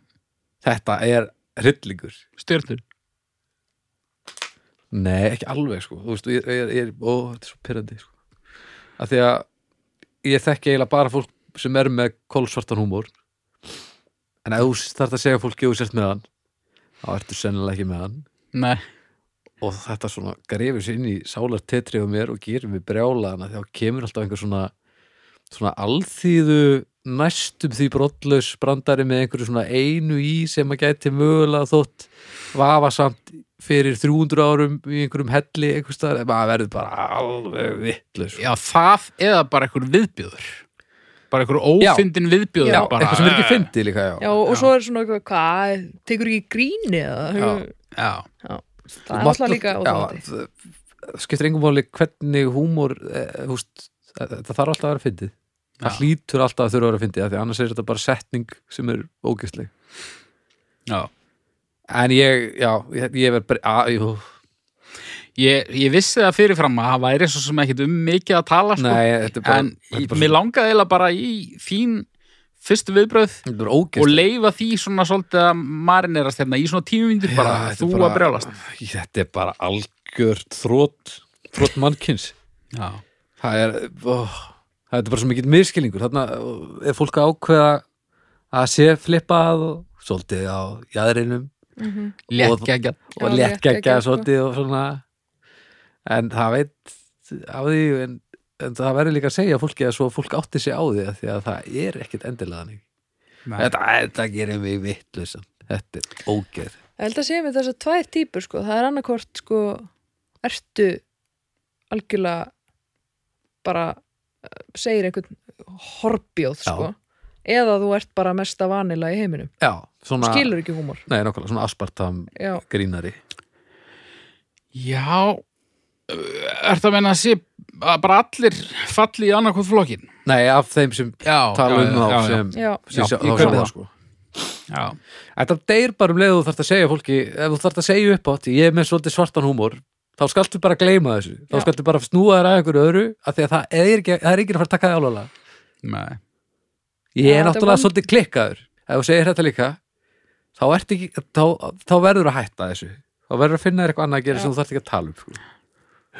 Speaker 3: þetta er hryllingur
Speaker 1: Stjörnur.
Speaker 3: nei, ekki alveg sko þú veist, ég, ég, ég, ó, þetta er svo pyrrandi sko. af því að ég þekki eiginlega bara fólk sem er með kólsvartan húmór en ef þú þarft að segja fólki og sért með hann þá ertu sennilega ekki með hann
Speaker 1: Nei.
Speaker 3: og þetta svona grefur sér inn í sálar tetri á mér og gerir mig brjálaðan að þá kemur alltaf einhver svona svona alþýðu næstum því brottlaus brandari með einhverju svona einu í sem að gæti mögulega þótt vafasamt fyrir 300 árum í einhverjum helli einhvers staðar, maður verður bara alveg sko. vittlaus
Speaker 1: Já, það eða bara einhver viðbjóður. Bara einhver ófyndin viðbjóður.
Speaker 2: Já,
Speaker 1: bara,
Speaker 3: eitthvað sem er ekki fyndið líka, já,
Speaker 2: Já, og
Speaker 1: Já.
Speaker 2: svo er svona eitthvað, hvað, tekur ekki gríni eða
Speaker 3: Já.
Speaker 1: Já.
Speaker 2: það er alltaf líka
Speaker 3: já,
Speaker 2: óþólandi
Speaker 3: það- skiptir engum máli hvernig húmor eh, húst, það þarf alltaf að vera fyndið það
Speaker 1: Já.
Speaker 3: hlýtur alltaf að þurfa að vera fyndið af því annars er þetta bara setning sem er ógæstleg
Speaker 1: Já.
Speaker 3: en ég, já, ég, ég verð bara að, jú,
Speaker 1: Ég, ég vissi það fyrirfram að það væri svo sem ekkit um mikið að tala sko.
Speaker 3: nei, þetta er bara,
Speaker 1: en
Speaker 3: þetta er bara,
Speaker 1: mér langaði eiginlega bara í þín fyrstu viðbröð
Speaker 3: þetta er bara
Speaker 1: og
Speaker 3: ógæstleg
Speaker 1: leifa því svona svolítið að marinerast hérna í svona tíu myndir bara
Speaker 3: Já, þetta
Speaker 1: þú
Speaker 3: er bara-
Speaker 1: að brjálast
Speaker 3: þetta er bara algjört þrótt, þrótt mannkins
Speaker 1: Já.
Speaker 3: það er ó, það er bara svo mikið miskilingur þarna er fólk að ákveða að sé flippað og svolítið á jæðrinum
Speaker 2: Mhm.
Speaker 1: Létt ekki
Speaker 2: Já,
Speaker 3: og léttgækja
Speaker 2: léttgeggjað, sko.
Speaker 3: svolítið og svona en það veit af því en, en það verður líka að segja fólki að svo fólk átti sig á því af því að það er ekkit endilega þannig
Speaker 1: að
Speaker 3: þetta, þetta gerir mig vittlust þetta er ógeð
Speaker 2: Ég held að segja mér þess að tvær típur sko, það er annarkvort sko ertu algjörlega bara eh, segir einhvern horbjóð
Speaker 3: Já.
Speaker 2: sko eða þú ert bara mesta vanila í heiminum
Speaker 3: já, svona,
Speaker 2: skilur ekki húmor
Speaker 3: nei, nákvæmlega, svona aspartam
Speaker 2: Já,
Speaker 3: grínari
Speaker 1: Já Er það að meina að sé að bara allir falli í annarkvæð flokkin
Speaker 3: nei, af þeim sem
Speaker 1: Já,
Speaker 3: tala um þá sem,
Speaker 2: já,
Speaker 1: Já,
Speaker 3: sem sjá-
Speaker 1: ég
Speaker 3: þá
Speaker 1: kaupi
Speaker 3: sjá
Speaker 1: það.
Speaker 3: sko
Speaker 1: já,
Speaker 3: Þetta deyr bara um leið og þú þarft að segja fólki ef þú þarft að segja upp átt, ég er með svolítið svartan húmor þá skaltu bara gleyma þessu þá
Speaker 2: Já.
Speaker 3: skaltu bara snúa þér að einhverju öðru af því að það er, ekki, það er ekki að fara að taka það alveg
Speaker 1: nei,
Speaker 3: ég
Speaker 2: Já,
Speaker 3: er
Speaker 2: þetta
Speaker 3: náttúrulega
Speaker 2: er vond-
Speaker 3: svolítið klikkaður ef þú segir þetta líka þá, ertu ekki, þá, þá verður að hætta þessu þá verður að finna þér eitthvað annað að gera
Speaker 2: Já.
Speaker 3: sem þú þarft ekki að tala um sko.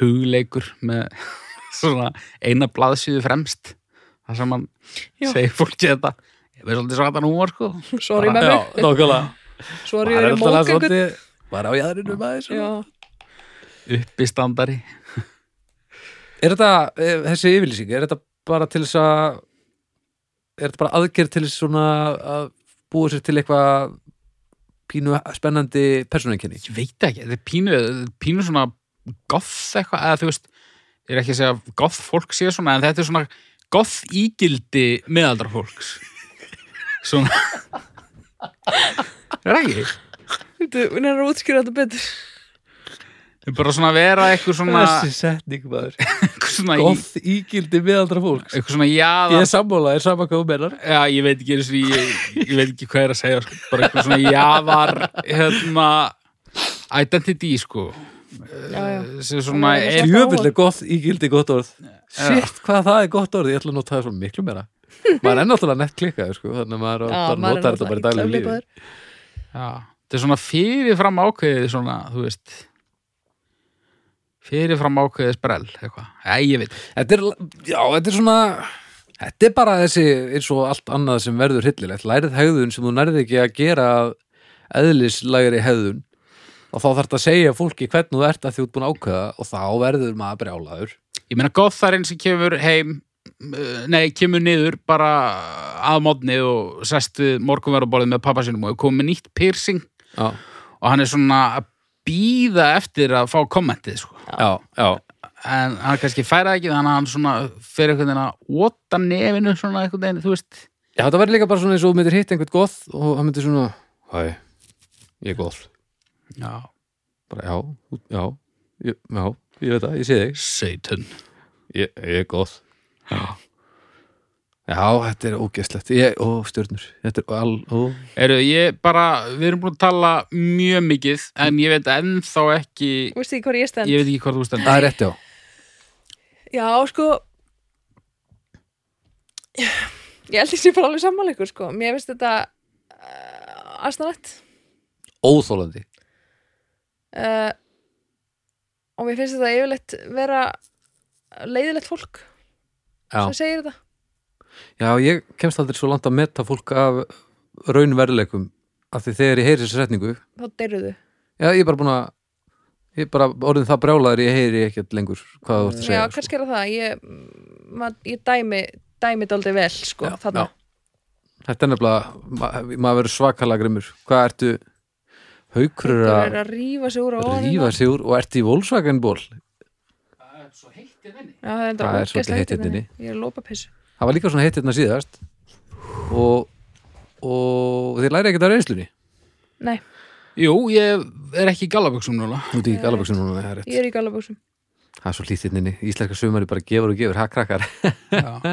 Speaker 1: hugleikur með svona eina blaðsíðu fremst það sem hann
Speaker 2: Já.
Speaker 1: segir fólki þetta ég veist svolítið svartan húmor sko
Speaker 2: sorry með
Speaker 3: Já,
Speaker 2: mig,
Speaker 3: nákvæmlega
Speaker 2: sorry
Speaker 3: Maður er
Speaker 2: ég er í
Speaker 3: náttúrulega
Speaker 2: mók einhvern
Speaker 3: svolítið bara á jæðrinum aðeins og-
Speaker 2: Já,
Speaker 1: uppistandari
Speaker 3: Er þetta, eh, þessi yfirlýsing, er þetta bara til þess að er þetta bara aðgerð til þess svona að búa sér til eitthvað pínu spennandi persónuenginni?
Speaker 1: ég veit ekki, þetta er pínu, þetta er pínu svona goth eitthvað, eða þú veist ég er ekki að segja goth fólk sé svona en þetta er svona goth ígildi meðaldra fólks svona er ekki
Speaker 2: þú hún er að útskýra þetta betur
Speaker 1: Þetta er bara svona að vera eitthvað svona,
Speaker 3: Þessi setning maður
Speaker 1: eitthvað svona í-
Speaker 3: Góð ígildi miðaldra fólks
Speaker 1: eitthvað svona
Speaker 3: Ég
Speaker 1: jaðar
Speaker 3: er sammála, ég er saman hvað þú menar
Speaker 1: Já, ég veit ekki, einu sinni, ég, ég veit ekki hvað er að segja sko. bara eitthvað svona jaðar hérna identity sko
Speaker 2: Já, já,
Speaker 1: sem svona
Speaker 2: Það er
Speaker 1: er,
Speaker 3: Jöfnilega góð ígildi gott orð Sitt, hvað það er gott orð, ég ætla að nota það svo miklu meira Maður er náttúrulega nett klikkaður sko Þannig að maður á-
Speaker 2: Já,
Speaker 3: bara
Speaker 2: maður er
Speaker 3: notar þetta bara í
Speaker 2: náttúrulega
Speaker 3: daglegu
Speaker 2: illa
Speaker 3: lífi
Speaker 2: flippaður.
Speaker 1: já, þetta er svona fyrirfram ákveðið svona, þú veist fyrirfram ákveðið sprell eitthvað, já, ég veit
Speaker 3: Þetta er, já, þetta er svona þetta er bara þessi eins og allt annað sem verður hryllilegt, lærið hegðun sem þú nærði ekki að gera af eðlislægri hegðun og þá þarf að segja fólki hvernig þú ert að því út búin að ákveða og þá verður maður brjálaður
Speaker 1: ég meina gotharinn sem kemur heim uh, nei, kemur niður bara að modni og sest við morgunverðarborðið með pappa sinum og er komið með nýtt piercing
Speaker 3: Já,
Speaker 1: og hann er svona að býða eftir að fá kommentið sko
Speaker 3: já, já,
Speaker 1: en hann kannski færa ekki þannig að hann svona fyrir einhvern veginn að óta nefinu svona einhvern veginn, þú veist
Speaker 3: já þetta verður líka bara svona eins og þú myndir hitt einhvern goð og hann myndir svona Hæ, ég er goð
Speaker 1: Já,
Speaker 3: bara, já, þú- já, ég, já, ég veit það, ég sé þig
Speaker 1: Satan
Speaker 3: Ég, ég er góð Já, já þetta er ógeðslegt ég, Ó, stjörnur Þetta er all, ó
Speaker 1: Eru, ég bara, við erum búin að tala mjög mikið en ég veit ennþá ekki
Speaker 2: Þú veist ekki hvað ég stend
Speaker 1: ég veit ekki hvað þú stendur
Speaker 3: Það er rétt, já
Speaker 2: Já, sko Ég held ég sé bara alveg sammála ykkur, sko Mér finnst þetta uh, astanlegt
Speaker 3: Óþólandi
Speaker 2: uh, og mér finnst þetta yfirleitt vera leiðilegt fólk
Speaker 3: Já,
Speaker 2: sem segir þetta
Speaker 3: já ég kemst aldrei svo langt að metta fólk af raunveruleikum af því þegar ég heyri þessi setningu
Speaker 2: þá deyrðu
Speaker 3: Já, ég er bara búin að ég er bara orðin það brjálaður ég heyri ekkert lengur hvað þú ert að
Speaker 2: Já,
Speaker 3: segja sko.
Speaker 2: kannski er það það ég, mað, ég dæmi, dæmi þetta aldrei vel sko,
Speaker 3: Já,
Speaker 2: þarna
Speaker 3: já. Þetta er nefnilega, ma maður verður svakalega grimmur Hvað ertu haukur er
Speaker 2: Þetta
Speaker 3: að hérna.
Speaker 2: er að rífa sig úr á orðinu.
Speaker 3: rífa sig úr og ertu í Volkswagen ból
Speaker 1: Svo heitti þenni
Speaker 2: Já, það er enda
Speaker 3: Það er
Speaker 2: ógeðslega
Speaker 3: svolítið heitt
Speaker 2: heitt
Speaker 3: hérna
Speaker 2: hérna. Ég er að lópa pissu
Speaker 3: það var líka svona heitt hérna síðast og, og þið læri ekkert af reynslunni
Speaker 2: Nei,
Speaker 1: Jú, ég er ekki í galaböksum núna
Speaker 3: út í galaböksinu núna það er rétt.
Speaker 2: ég er í galabúsum
Speaker 4: það er svo
Speaker 3: hérna
Speaker 4: hlýttinninni, íslenska sumari bara gefur og gefur, ha krakkar
Speaker 1: já,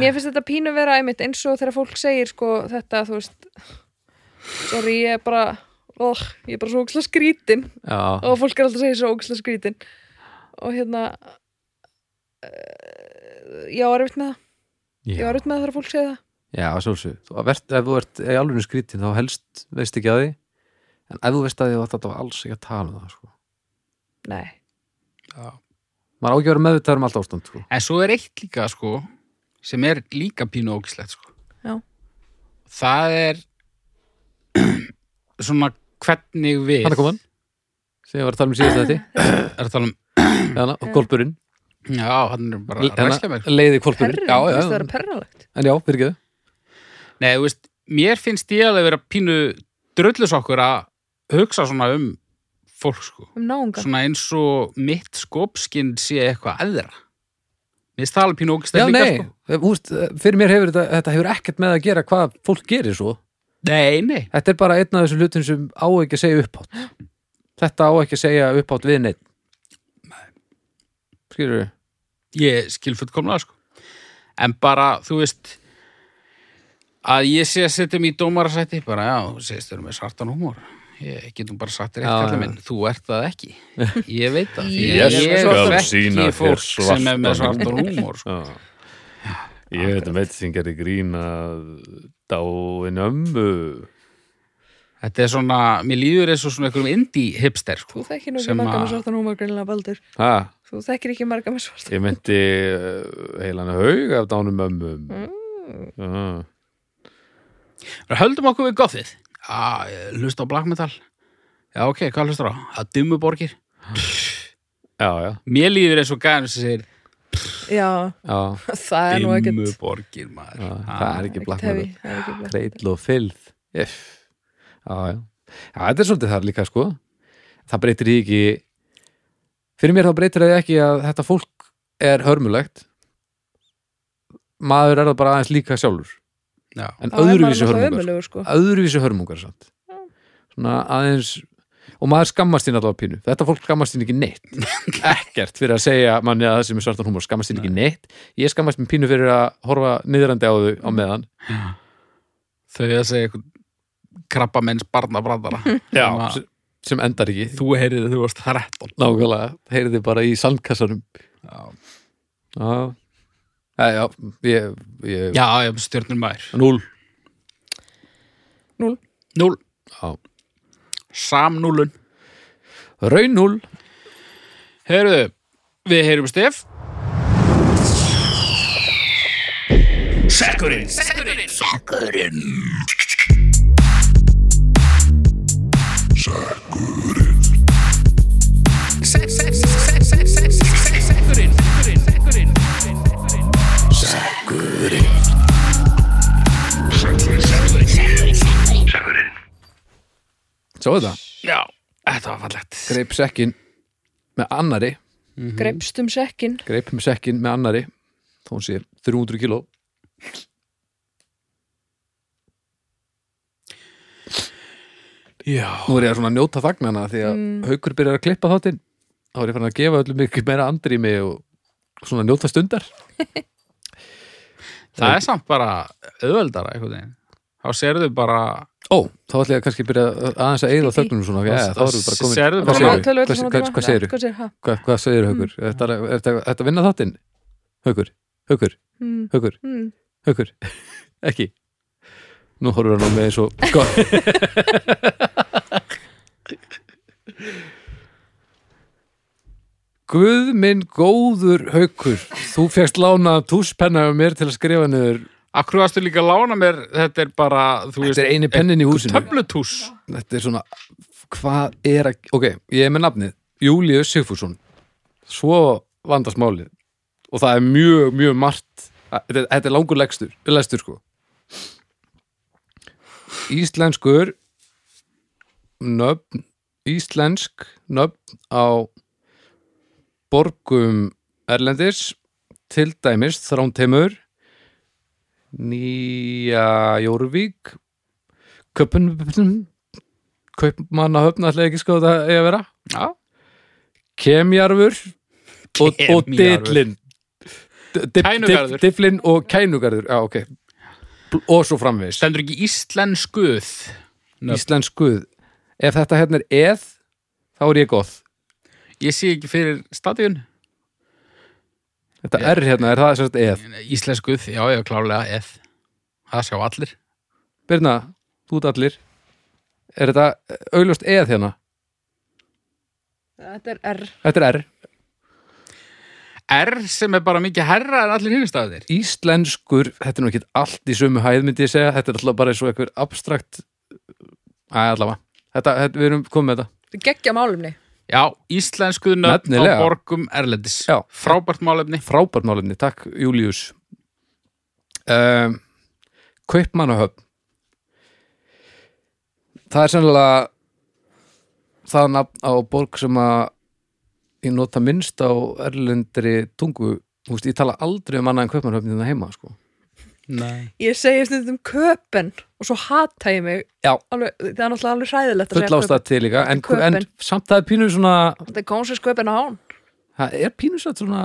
Speaker 2: Mér finnst þetta pínu vera einmitt eins og þegar fólk segir sko þetta, þú veist Sorry, ég er bara oh, ég er bara svo óksla skrítin
Speaker 4: já,
Speaker 2: og fólk er alltaf að segja svo óksla skrítin og hérna uh, ég á erfitt með það ég á
Speaker 4: já,
Speaker 2: erfitt með það þegar fólk segir það
Speaker 4: já sjálfsög ef þú ert í alveg skrítin þá helst veist ekki að því en ef þú veist að því þá þetta var alls ekki að tala um það sko.
Speaker 2: Nei,
Speaker 1: já.
Speaker 4: maður á ekki að vera meðvitað um allt ástand sko.
Speaker 1: En svo er eitt líka sko sem er líka pínu ógislegt sko.
Speaker 2: Já.
Speaker 1: Það er svona hvernig við
Speaker 4: hann er komin, sem ég var að tala um síðast þetta
Speaker 1: er að tala um
Speaker 4: Þannig, og kolpurinn,
Speaker 1: Já, hann er bara að ræsla
Speaker 4: Hana-
Speaker 1: mig
Speaker 4: leiði kolpurinn
Speaker 2: perrulegt,
Speaker 4: já,
Speaker 2: það
Speaker 4: já,
Speaker 2: er perrulegt
Speaker 4: en já, byrgið
Speaker 1: Nei, þú veist, mér finnst ég að vera pínu drullis okkur að hugsa svona um fólk sko
Speaker 2: um náunga
Speaker 1: svona eins og mitt skopskinn sé eitthvað aðra Mér finnst það alveg pínu
Speaker 4: já,
Speaker 1: ógislegt líka
Speaker 4: nei,
Speaker 1: sko
Speaker 4: húst, fyrir mér hefur þetta, þetta hefur ekkert með að gera hvað fólk gerir svo
Speaker 1: Nei, nei,
Speaker 4: Þetta er bara einn af þessum hlutum sem á ekki að segja upphátt. Þetta á ekki að segja upphátt við neitt. Skilur við?
Speaker 1: ég skil fullkomlega sko. en bara, þú veist að ég sé að setja mig í dómarasætti bara, já, þú sést, þú erum með svartan húmor ég getum bara sagt þér
Speaker 4: Já,
Speaker 1: eitt
Speaker 4: já.
Speaker 1: kallar minn, þú ert það ekki ég veit það, því
Speaker 2: Ég
Speaker 1: ég
Speaker 5: sýna
Speaker 2: skal
Speaker 1: þekki
Speaker 5: þér
Speaker 1: fólk sem er með
Speaker 5: svartan
Speaker 1: svartan húmor sko.
Speaker 5: Já. Ég veit um eitt sem gerir grín að dáin ömmu
Speaker 1: þetta er svona, mér líður eins og svona einhverjum indie hipster
Speaker 2: Þú
Speaker 1: sko.
Speaker 2: þekkir nú ekki
Speaker 1: Sem
Speaker 2: marga
Speaker 1: að-
Speaker 2: með svartan húmar greinlega baldur
Speaker 5: ha,
Speaker 2: Þú þekkir ekki marga með svartan
Speaker 5: Ég myndi uh, heilan haug af dánum ömmum mm.
Speaker 1: höldum okkur við gothið já, ég hlusta á black metal já, ok, hvað hlustar á? að dimmuborgir
Speaker 5: Já, já,
Speaker 1: mér líður eins og gæðum sem segir
Speaker 2: Já,
Speaker 4: Já,
Speaker 2: það er nú ekkert
Speaker 1: dimmuborgir maður
Speaker 4: já
Speaker 1: Ha.
Speaker 4: það er ekki
Speaker 2: ekkert
Speaker 4: black
Speaker 2: heavy, það
Speaker 4: metal.
Speaker 2: er ekki black metal.
Speaker 4: Reitl og fylð. Eff. Já, já. Já, þetta er svolítið þar líka, sko. Það breytir því ekki, fyrir mér þá breytir það ekki að þetta fólk er hörmulegt. Maður er það bara aðeins líka sjálfur.
Speaker 1: Já.
Speaker 4: En
Speaker 2: Þá er maður
Speaker 4: öðruvísi
Speaker 2: náttúrulega
Speaker 4: hörmungar.
Speaker 2: ömurlegur, sko.
Speaker 4: öðruvísi hörmungar samt svona aðeins og maður skammast þín allavega pínu þetta fólk skammast þín ekki neitt ekkert fyrir að segja manni að það sem er svartan húmor skammast þín ekki neitt ég skammast mér pínu fyrir að horfa niðrandi á þau á
Speaker 1: Mm.
Speaker 4: meðan
Speaker 1: þau að segja eitthvað krabba menns barnabrandara Sem að
Speaker 4: sem, sem endar ekki
Speaker 1: þú heyrið þú varst 13
Speaker 4: nákvæmlega, heyrði bara í sandkassanum
Speaker 1: já,
Speaker 4: já, Æ, já ég, ég,
Speaker 1: já, já stjórnir maður
Speaker 4: núl
Speaker 1: núl,
Speaker 4: Já.
Speaker 1: samnúlun
Speaker 4: raun núl,
Speaker 1: heyrðu, við heyrum stef
Speaker 4: svo þetta
Speaker 1: já, þetta var fallegt
Speaker 4: greip sekkin með annari Mhm.
Speaker 2: Greipst um sekkin
Speaker 4: greipum sekkin með annari þó hún sé 300 kíló
Speaker 1: já,
Speaker 4: Nú er ég að svona njóta þagnana því að haukur byrjar að klippa þáttinn þá er ég farin að gefa öllum mikið meira andrými og svona njóta stundar
Speaker 1: það er samt bara auðveldara einhvern veginn þá serðu bara
Speaker 4: Ó, þá ætla ég kannski að byrja að- aðeins að eyða þögnunum svona ja, þá erum við bara komin
Speaker 1: Sérðu
Speaker 4: Hvað
Speaker 1: bara-
Speaker 4: segirðu?
Speaker 2: Tölvöld
Speaker 4: Hvað-
Speaker 2: svona
Speaker 4: hvað-
Speaker 2: tíma.
Speaker 4: Hvað segir
Speaker 2: Hvað segir, ha?
Speaker 4: Hvað, hvað segir haukur?
Speaker 2: Mm.
Speaker 4: Er þetta- Er þetta er þetta að vinna þáttinn? Haukur, haukur,
Speaker 2: Mm,
Speaker 4: haukur,
Speaker 2: mm.
Speaker 4: haukur Ekki Nú horfum við hann á með eins og Gott. Guð minn góður haukur Þú fegst lánað túspenna um mér til að skrifa niður
Speaker 1: akkur varstu líka að lána mér þetta er bara, þú
Speaker 4: Þetta
Speaker 1: veist,
Speaker 4: er eini pennin í húsinu
Speaker 1: töflutús
Speaker 4: Þetta er svona, hvað er að Ok, ég er með nafnið, Július Sigfússon Svo vandast málið Og það er mjög, mjög margt Þetta, þetta er langur lekstur, lestur sko Íslenskur Nöfn Íslensk nöfn á borgum Erlendis til dæmis Þránteimur Nýja Jórvík Köpun Kaupmannahöfn ætla ég ekki sko það eigi að vera
Speaker 1: já,
Speaker 4: Kemjarfur og, og
Speaker 1: Kemíarfur.
Speaker 4: dillin
Speaker 1: Kænugarður.
Speaker 4: dillin og kænugarður já, ok B- og svo framvegis
Speaker 1: stendur ekki íslenskuð Nöfn.
Speaker 4: íslensk guð ef þetta hérna er eð þá er ég góð
Speaker 1: ég sé ekki fyrir stadion
Speaker 4: þetta
Speaker 1: Já.
Speaker 4: er hérna, er það sérst eð
Speaker 1: íslenskuð, já ég er klárlega eð það sjá allir
Speaker 4: Birna, þú ert allir er þetta augljóst eð hérna
Speaker 2: Þetta er R.
Speaker 4: þetta er r,
Speaker 1: R sem er bara mikið herra en allir hinn staðir
Speaker 4: íslenskur þetta er nú ekki allt í sömu hæð myndi ég segja þetta er alltaf bara eins og einhver abstrakt að allavega þetta, þetta, við erum komið með þetta
Speaker 2: Þetta er geggja málumni.
Speaker 1: já, íslenskuð nöfn á
Speaker 4: Nefnilega.
Speaker 1: borgum erlendis
Speaker 4: Já.
Speaker 1: frábært málefni
Speaker 4: frábært málefni, takk Július um, Kaupmannahöfn Það er sennilega það nafn á borg sem að ég nota minnst á erlendri tungu Þú veist, ég tala aldrei um annað en Kaupmannahöfn þetta heima, sko
Speaker 1: Nei.
Speaker 2: Ég segi stundum um köpen og svo hata ég mig.
Speaker 4: Já.
Speaker 2: Alveg, það er náttúrulega alveg hræðilegt að
Speaker 4: Full
Speaker 2: segja
Speaker 4: ástæð til líka, en,
Speaker 2: Köben.
Speaker 4: en samt það er pínu svona
Speaker 2: Þetta er kónsins köpen á hán.
Speaker 4: það er pínu satt svona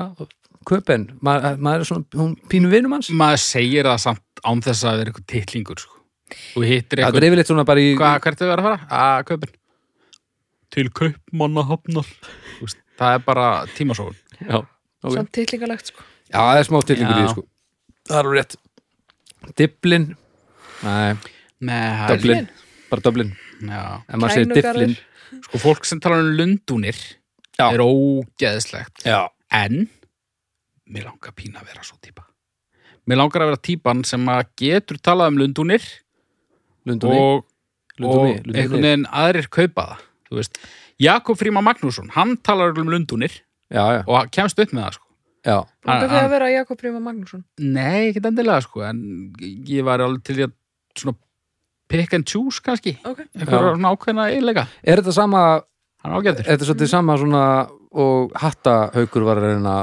Speaker 4: Köpen, maður, maður er svona hún pínu vinum hans
Speaker 1: maður segir það samt án þess að það er eitthvað titlingur sko. og hittir
Speaker 4: Það
Speaker 1: eitthvað
Speaker 4: er yfirleitt svona bara í
Speaker 1: Hva, hvert er það að fara? Að kaupin Til kaupmanna hafnar Það er bara tímasóun
Speaker 4: Já, ok.
Speaker 2: Samt tillingalegt, sko.
Speaker 4: Já, það er smá tillingur í
Speaker 1: Já.
Speaker 4: því sko Það er rétt Diblin Nei,
Speaker 1: Nei,
Speaker 4: Dublin Bara Dublin
Speaker 1: Já.
Speaker 4: En maður segir
Speaker 2: Kænugarður.
Speaker 4: Diblin
Speaker 1: Sko fólk sem talar um lundunir
Speaker 4: Já.
Speaker 1: er ógeðslegt
Speaker 4: Já
Speaker 1: En Mér langar pína að vera svo típa Mér langar að vera típan sem að getur talað um lundunir
Speaker 4: Lundunni
Speaker 1: og,
Speaker 4: Lundunni,
Speaker 1: og
Speaker 4: Lundunni.
Speaker 1: einhvern veginn aðrir kaupa það Þú veist, Jakob Fríma Magnússon hann talar um lundunir
Speaker 4: Já, já,
Speaker 1: og hann kemst upp með það sko.
Speaker 4: já
Speaker 2: Langar
Speaker 1: Hann-
Speaker 2: þau
Speaker 4: ah.
Speaker 1: hann-
Speaker 2: að vera Jakob Ríma Magnússon?
Speaker 1: Nei, ekki endilega sko en ég var alveg til í að svona pick and choose kannski
Speaker 2: Ok.
Speaker 1: einhverja
Speaker 4: Já.
Speaker 1: svona ákveðna eiginlega
Speaker 4: Er þetta sama
Speaker 1: hann er ágætur
Speaker 4: Er þetta svolítið sama svona Og hattahaukur var að reyna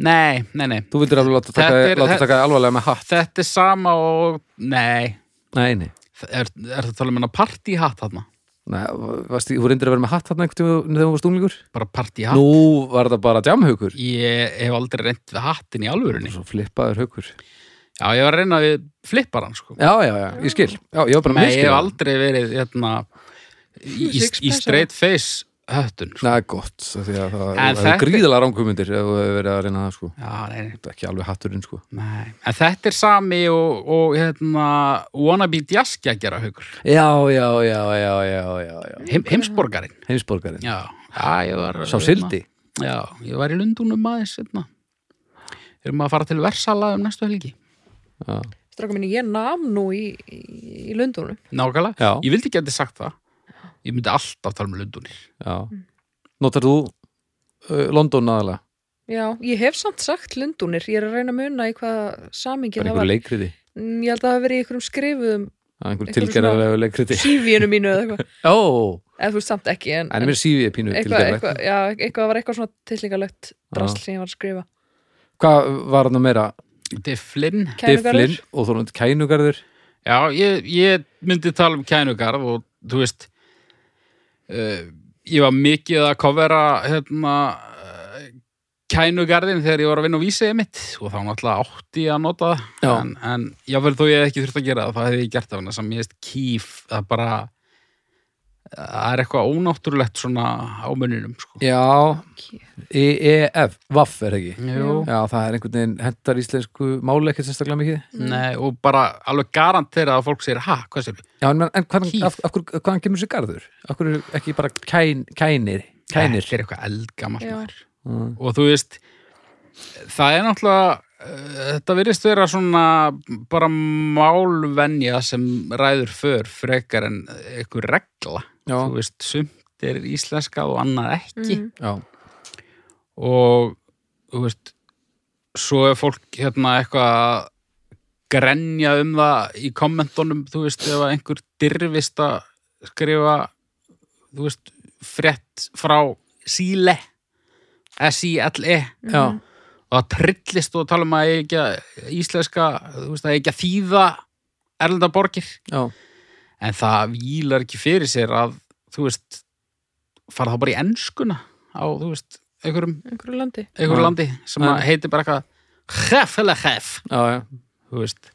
Speaker 1: Nei, nei, nei
Speaker 4: Þú vildir alveg láta taka,
Speaker 1: Þetta er-
Speaker 4: láta taka alvarlega með hatt
Speaker 1: Þetta er sama og Nei,
Speaker 4: Nei, nei
Speaker 1: er, er það að tala um hennar partyhatt þarna?
Speaker 4: Nei, varst, þú reyndir að vera með hatt þarna einhvern tímann þegar þú varst unglingur?
Speaker 1: Bara partyhatt
Speaker 4: Nú var þetta bara djamhaukur
Speaker 1: Ég hef aldrei reynt við hattin í alvörunni
Speaker 4: Svo flippaður haukur
Speaker 1: Já, ég var að reyna við flipparann sko
Speaker 4: Já, já, já, ég skil Já, ég var bara
Speaker 1: Nei, ég hef
Speaker 4: miskil
Speaker 1: aldrei verið hérna í, í, í
Speaker 2: Sixpence.
Speaker 1: straight face höttun sko.
Speaker 4: Næ, gott, af því að það
Speaker 1: En
Speaker 4: það
Speaker 1: þetta-
Speaker 4: er gríðalega rámkumundir ef þú hefur verið að reyna það sko
Speaker 1: Já, nei, nei
Speaker 4: Þetta er ekki alveg hatturinn sko
Speaker 1: Nei, en þetta er sami og, og hérna, wannabe jaskja gera haukur
Speaker 4: Já, já, já, já, já, já, já.
Speaker 1: Heim, heimsborgarinn
Speaker 4: Heimsborgarinn
Speaker 1: já. já, ég var hérna,
Speaker 4: Sá sildi
Speaker 1: Já, ég var í Lundunum aðeins hérna. erum að fara til Versala um næstu helgi
Speaker 4: Já,
Speaker 2: Stráka minni, ég nam nú í, í, í Lundunum.
Speaker 1: Nákvæmlega,
Speaker 4: Já.
Speaker 1: ég vildi ekki að þið sagt það ég myndi alltaf tala um Lundunir
Speaker 4: já
Speaker 2: Mm.
Speaker 4: Notar þú uh, London aðalega?
Speaker 2: Já, ég hef samt sagt Lundunir. Ég er að reyna að muna í hvaða samingi það
Speaker 4: Bara einhverju
Speaker 2: var.
Speaker 4: leikriði
Speaker 2: Mm, Ég held að það hafi verið í einhverjum skrifuðum
Speaker 4: Já, Einhverju
Speaker 2: Einhverju
Speaker 4: tilgerðarlegu leikriði
Speaker 2: sífíinu mínu eða eitthvað.
Speaker 4: Ó,
Speaker 2: Eða þú veist samt ekki, en,
Speaker 4: en mér sífið er pínu
Speaker 2: eitthvað,
Speaker 4: tilgerðarlegt
Speaker 2: eitthvað, já, eitthvað var eitthvað svona tillingalegt drasl sem ég var að skrifa.
Speaker 4: Hvað var hann meira?
Speaker 1: Þetta er Flynn
Speaker 4: Difflin
Speaker 2: Kænugarður,
Speaker 4: og þó náttúrulega kænugarður
Speaker 1: Já, ég, ég myndi tala um kænugarð og þú veist uh, ég var mikið að kofera hérna uh, kænugarðin þegar ég var að vinna á vísiði mitt og þá náttúrulega átti ég að nota það
Speaker 4: Já.
Speaker 1: en, en jável þó ég hef ekki þurft að gera það þá hefði ég gert það sem ég veist kýf það bara það er eitthvað ónáttúrulegt svona á muninum sko.
Speaker 4: Já, EEF, E, Vaff er ekki
Speaker 1: Jú.
Speaker 4: Já, það er einhvern veginn hentar íslensku máli ekkert sérstaklega mikið
Speaker 1: Nei, og bara alveg garantera að fólk segir, ha, hvað sér
Speaker 4: Já, en, en hvað,
Speaker 1: Kýf.
Speaker 4: af, af, hver, hvaðan kemur sér garður? Af hverju ekki bara kæn, kænir? Kænir?
Speaker 1: Þetta er eitthvað eldgamalt
Speaker 2: Já.
Speaker 1: maður
Speaker 4: Mm.
Speaker 1: og þú veist það er náttúrulega eh, þetta virðist vera svona bara málvenja sem ræður för frekar en einhver regla
Speaker 4: Já,
Speaker 1: þú veist, sumt er íslenska og annað ekki
Speaker 2: Mhm.
Speaker 4: já,
Speaker 1: og þú veist svo er fólk hérna eitthvað að grenja um það í kommentunum, þú veist, ef að einhver dyrfist að skrifa þú veist, frétt frá síle S-I-L-E
Speaker 2: mm,
Speaker 4: já.
Speaker 1: og það trillist og tala um að eigi ekki að íslenska, þú veist, að eigi ekki að þýða erlenda borgir
Speaker 4: Já.
Speaker 1: en það vílar ekki fyrir sér að þú veist, fara þá bara í enskuna á, þú veist, einhverjum,
Speaker 2: mm. einhverju landi
Speaker 1: einhverjum
Speaker 4: Já.
Speaker 1: landi sem að
Speaker 4: Já.
Speaker 1: heitir bara eitthvað hef eða hef
Speaker 4: já, já.
Speaker 1: þú veist,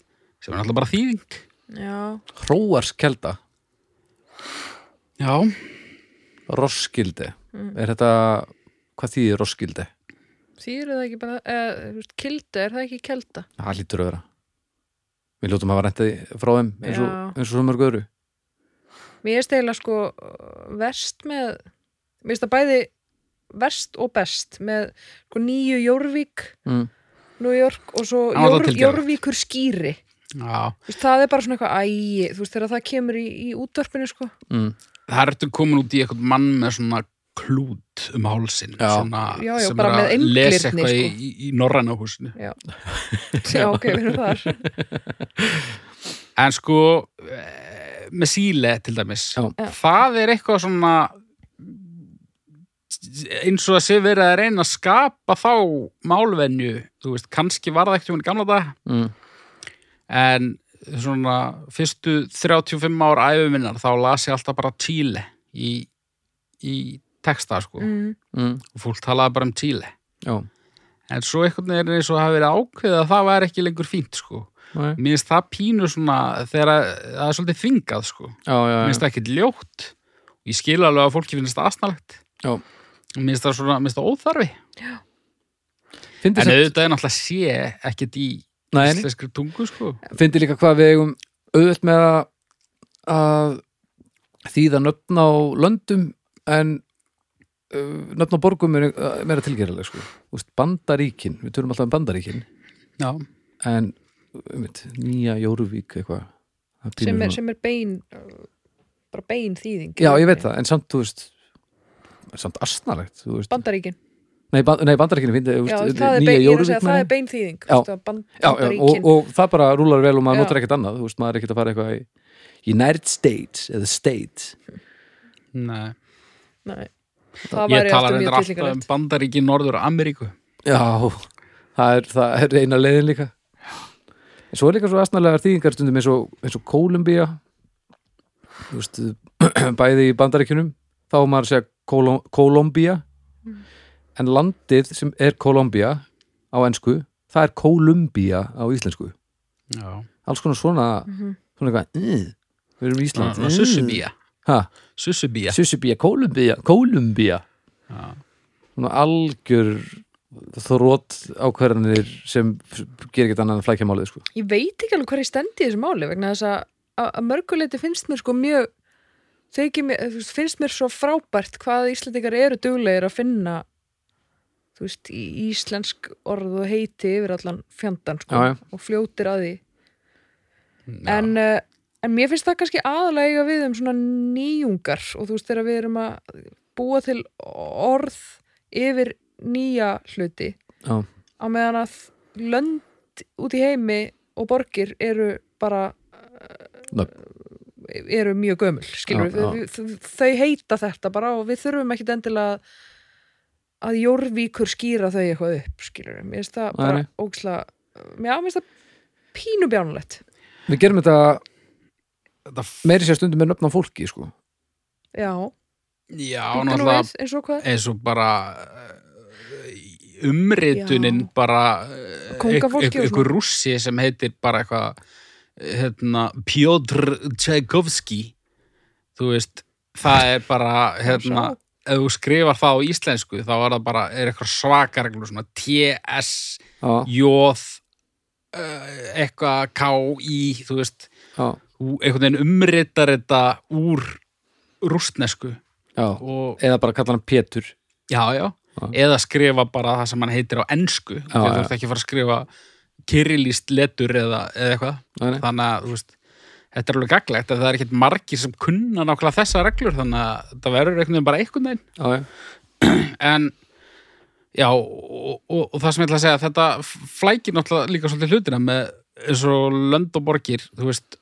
Speaker 1: sem er alltaf bara þýðing
Speaker 2: já,
Speaker 4: Hróarskelda,
Speaker 1: já,
Speaker 4: Roskilde
Speaker 2: Mm.
Speaker 4: er þetta, hvað þýðir Roskilde?
Speaker 2: þýr það ekki bara eða, þú veist, kildu, er það ekki kelda
Speaker 4: Það lítur að vera Við ljótum að vera rentið frá þeim eins og,
Speaker 2: Já.
Speaker 4: eins og svo mörg öðru
Speaker 2: mér er steyla sko verst með mér er það bæði verst og best með sko, nýju Jórvík
Speaker 4: mm.
Speaker 2: New York og svo
Speaker 1: Já, það
Speaker 2: Jór,
Speaker 1: tilgerðar.
Speaker 2: Jórvíkur skýri
Speaker 1: já
Speaker 2: Þú veist, það er bara svona eitthvað ægi þú veist þegar það kemur í, í útvarpinu sko
Speaker 4: Mm.
Speaker 1: það er þetta komin út í eitthvað mann með svona klút um hálsin
Speaker 4: Já.
Speaker 1: svona,
Speaker 2: Já, já,
Speaker 1: sem
Speaker 2: bara
Speaker 1: er
Speaker 2: með
Speaker 1: að
Speaker 2: englirni,
Speaker 1: lesa eitthvað
Speaker 2: sko.
Speaker 1: í, í, í norræna húsinu
Speaker 2: já ok, við erum þar
Speaker 1: en sko eh, með síle til dæmis
Speaker 4: Já.
Speaker 2: Já.
Speaker 1: það er eitthvað svona eins og að sé verið að reyna að skapa þá málvenju þú veist, kannski var það ekkert um í gamla dag
Speaker 4: Mm.
Speaker 1: en svona fyrstu 35 ár æfuminnar þá las ég alltaf bara Chile í, í texta sko
Speaker 2: mm,
Speaker 4: Mm.
Speaker 1: og fólk talaði bara um Chile
Speaker 4: Já,
Speaker 1: en svo einhvern veginn er eins og hafi verið ákveðið að það væri ekki lengur fínt sko
Speaker 4: Nei.
Speaker 1: mér finnst það pínu svona þegar að, það er svolítið þvingað sko
Speaker 4: já, já,
Speaker 1: mér
Speaker 4: já.
Speaker 1: finnst það ekkert ljótt ég skil alveg að fólki finnst það asnalegt
Speaker 4: Já.
Speaker 1: mér finnst það svona, mér finnst það óþarfi en
Speaker 4: Fyndi samt-
Speaker 1: auðvitað er náttúrulega sé ekkert í
Speaker 4: Nei, nei.
Speaker 1: íslenskri tungu sko
Speaker 4: fyndi líka hvað við eigum auðvelt með að, að þýða nöfn á löndum en uh, nöfn á borgum er uh, meira tilgerileg sko. Úst, bandaríkin, við törum alltaf um bandaríkin
Speaker 1: já,
Speaker 4: en um veit, nýja Jóruvík eitthvað það pínur
Speaker 2: sem, er,
Speaker 4: svona-
Speaker 2: sem er bein uh, bara bein þýðing
Speaker 4: Já, ég veit það, en samt, þú veist samt asnalegt, þú veist
Speaker 2: Bandaríkin,
Speaker 4: Nei, ban, nei bandaríkinu fyndi,
Speaker 2: já,
Speaker 4: þú veist,
Speaker 2: það er, bein, ég er að
Speaker 4: nýja
Speaker 2: segja,
Speaker 4: Jóruvík
Speaker 2: það er
Speaker 4: meina.
Speaker 2: bein þýðing
Speaker 4: Já.
Speaker 2: band,
Speaker 4: Já, já, og,
Speaker 2: Bandaríkin
Speaker 4: og það bara rúlar vel og maður
Speaker 2: Já.
Speaker 4: notar ekkert annað, þú veist, maður er ekkert að fara eitthvað í United States eða States
Speaker 1: nei
Speaker 2: Nei,
Speaker 1: ég tala
Speaker 2: það væri aftur mjög
Speaker 1: reyndar alltaf um
Speaker 2: tilíkanlegt
Speaker 1: bandaríki Norður Ameríku
Speaker 4: Já, það er, það er eina leiðin líka En svo er líka svo astnalegar þýðingar stundum eins og, eins og Kólumbía Þú veist, bæði í bandaríkjunum þá á maður að segja Kóló- Kólumbía
Speaker 2: Mm.
Speaker 4: en landið sem er Kólumbía á ensku, það er Kólumbía á íslensku
Speaker 1: já,
Speaker 4: alls konar svona, svona eitthvað "Ugh, við erum í Ísland
Speaker 1: svona sussubía sussubía
Speaker 4: Sussubía, Kólumbía Kólumbía
Speaker 1: Já.
Speaker 4: svona algjör þrótt ákvarðanir sem gerir ekkert annað en flækja málið sko.
Speaker 2: Ég veit ekki alveg hvað ég stendi í þessu máli vegna þess að- að að mörguleiti finnst mér sko mjög þykir mér, þú veist, finnst mér svo frábært hvað Íslandingar eru duglegir að finna þú veist, í íslensk orð og heiti yfir allan fjandan sko
Speaker 4: Já, já.
Speaker 2: og fljótir að því
Speaker 1: Já.
Speaker 2: en, uh, en mér finnst það kannski aðalega eiga við um svona nýjungar og þú veist, þegar við erum að búa til orð yfir nýja hluti
Speaker 4: Já.
Speaker 2: á meðan að lönd út í heimi og borgir eru bara eh,
Speaker 4: Nöfn.
Speaker 2: eru mjög gömul skilur
Speaker 4: Já,
Speaker 2: við, þau- þau heita þetta bara og við þurfum ekkit endilega að- að jórvíkur skýra þau eitthvað upp skilur við, mér finnst það
Speaker 4: Nei,
Speaker 2: bara
Speaker 4: nei.
Speaker 2: óksla já, mér finnst það pínu bjánulegt
Speaker 4: Við gerum þetta
Speaker 1: þetta f-
Speaker 4: meiri sér stundum með nöfn á fólki sko.
Speaker 2: já,
Speaker 1: já,
Speaker 2: bíddu nú
Speaker 1: náttúrulega
Speaker 2: við, eins og hvað
Speaker 1: eins og bara eh, umritunin
Speaker 2: Já.
Speaker 1: bara eh,
Speaker 2: Kóngafólki og
Speaker 1: einhver rússi sem heitir bara eitthvað eh, hérna, Piotr Tchaikovsky þú veist það er bara hérna,
Speaker 2: Sjá.
Speaker 1: ef þú skrifar það á íslensku þá er það bara, er eitthvað svakareglur svona TS,
Speaker 4: Já,
Speaker 1: Jóð eh, eitthvað KI þú veist,
Speaker 4: já,
Speaker 1: þú einhvern veginn umritar þetta úr rústnesku
Speaker 4: já
Speaker 1: og
Speaker 4: Eða bara kalla hann Pétur
Speaker 1: Já, já,
Speaker 4: Já.
Speaker 1: eða skrifa bara það sem hann heitir á ennsku þú
Speaker 4: já.
Speaker 1: þurft ekki að fara að skrifa kyrilíst letur eða, eða eitthvað
Speaker 4: Nei, nei.
Speaker 1: þannig að, þú veist, þetta er alveg gaglegt að það er ekkert margir sem kunna nákvæmlega þessa reglur þannig að það verður einhvern veginn bara einhvern veginn
Speaker 4: Já, já,
Speaker 1: en, já, og, og, og það sem ég ætla að segja þetta flækir náttúrulega líka svolítið hlutina með eins og lönd og borgir þú veist,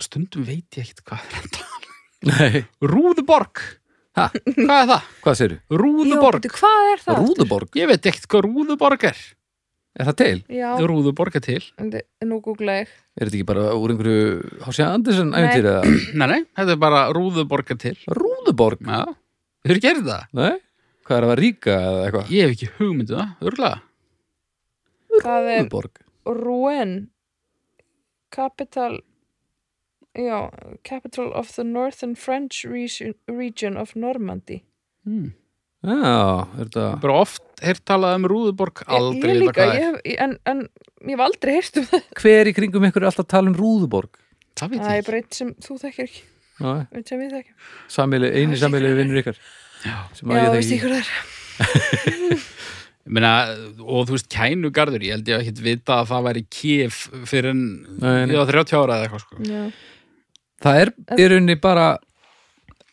Speaker 1: stundum veit ég ekkert hvað er þetta
Speaker 4: nei
Speaker 1: Rúðuborg,
Speaker 4: ha,
Speaker 1: hvað er það?
Speaker 4: Hvað segirðu? um
Speaker 2: Já,
Speaker 1: Rúðuborg,
Speaker 2: bíddu, hvað er það?
Speaker 4: Rúðuborg,
Speaker 1: ég veit ekkert hvað Rúðuborg er
Speaker 4: er það til?
Speaker 2: já,
Speaker 1: Rúðuborg er til
Speaker 2: en þi- nú googla ég
Speaker 4: Er þetta ekki bara úr einhverju Hási Andersen
Speaker 2: Nei.
Speaker 4: æfintýr eða
Speaker 1: Nei, nei, þetta er bara rúðuborga til
Speaker 4: Rúðuborg?
Speaker 1: Já, þau eru gerðið það
Speaker 4: Nei, Hvað er það að ríka eða eitthvað?
Speaker 1: Ég hef ekki hugmyndu það, örgulega.
Speaker 2: það er
Speaker 4: Guðborg
Speaker 2: Rouen Capital já, Capital of the Northern French region, region of Normandy
Speaker 1: Hmm.
Speaker 4: Já, er þetta
Speaker 1: Bara oft heyrt talað um Rúðuborg aldrei
Speaker 2: ég, ég
Speaker 1: vitað
Speaker 2: líka,
Speaker 1: hvað
Speaker 2: ég
Speaker 1: er.
Speaker 2: hef, ég- en, en ég hef aldrei heyrt um það
Speaker 4: Hver í kringum ykkur er alltaf að tala um Rúðuborg?
Speaker 1: Það veit ég
Speaker 2: það er
Speaker 1: ekki.
Speaker 2: bara eitt sem þú þekkir ekki
Speaker 4: Já,
Speaker 2: eitt sem ég þekki
Speaker 4: sameiginlegi- eini sammeili vinnur ykkar sem að
Speaker 2: já,
Speaker 4: ég
Speaker 2: veist ég
Speaker 4: þekki
Speaker 2: hvað það er
Speaker 1: Ég Meina, og þú veist, kænugarður, ég held ég að ekkert vita að það væri kif fyrir en
Speaker 4: Nei, nei.
Speaker 1: ég var 30 ára eða eitthvað sko.
Speaker 2: já.
Speaker 4: Það er í rauninni bara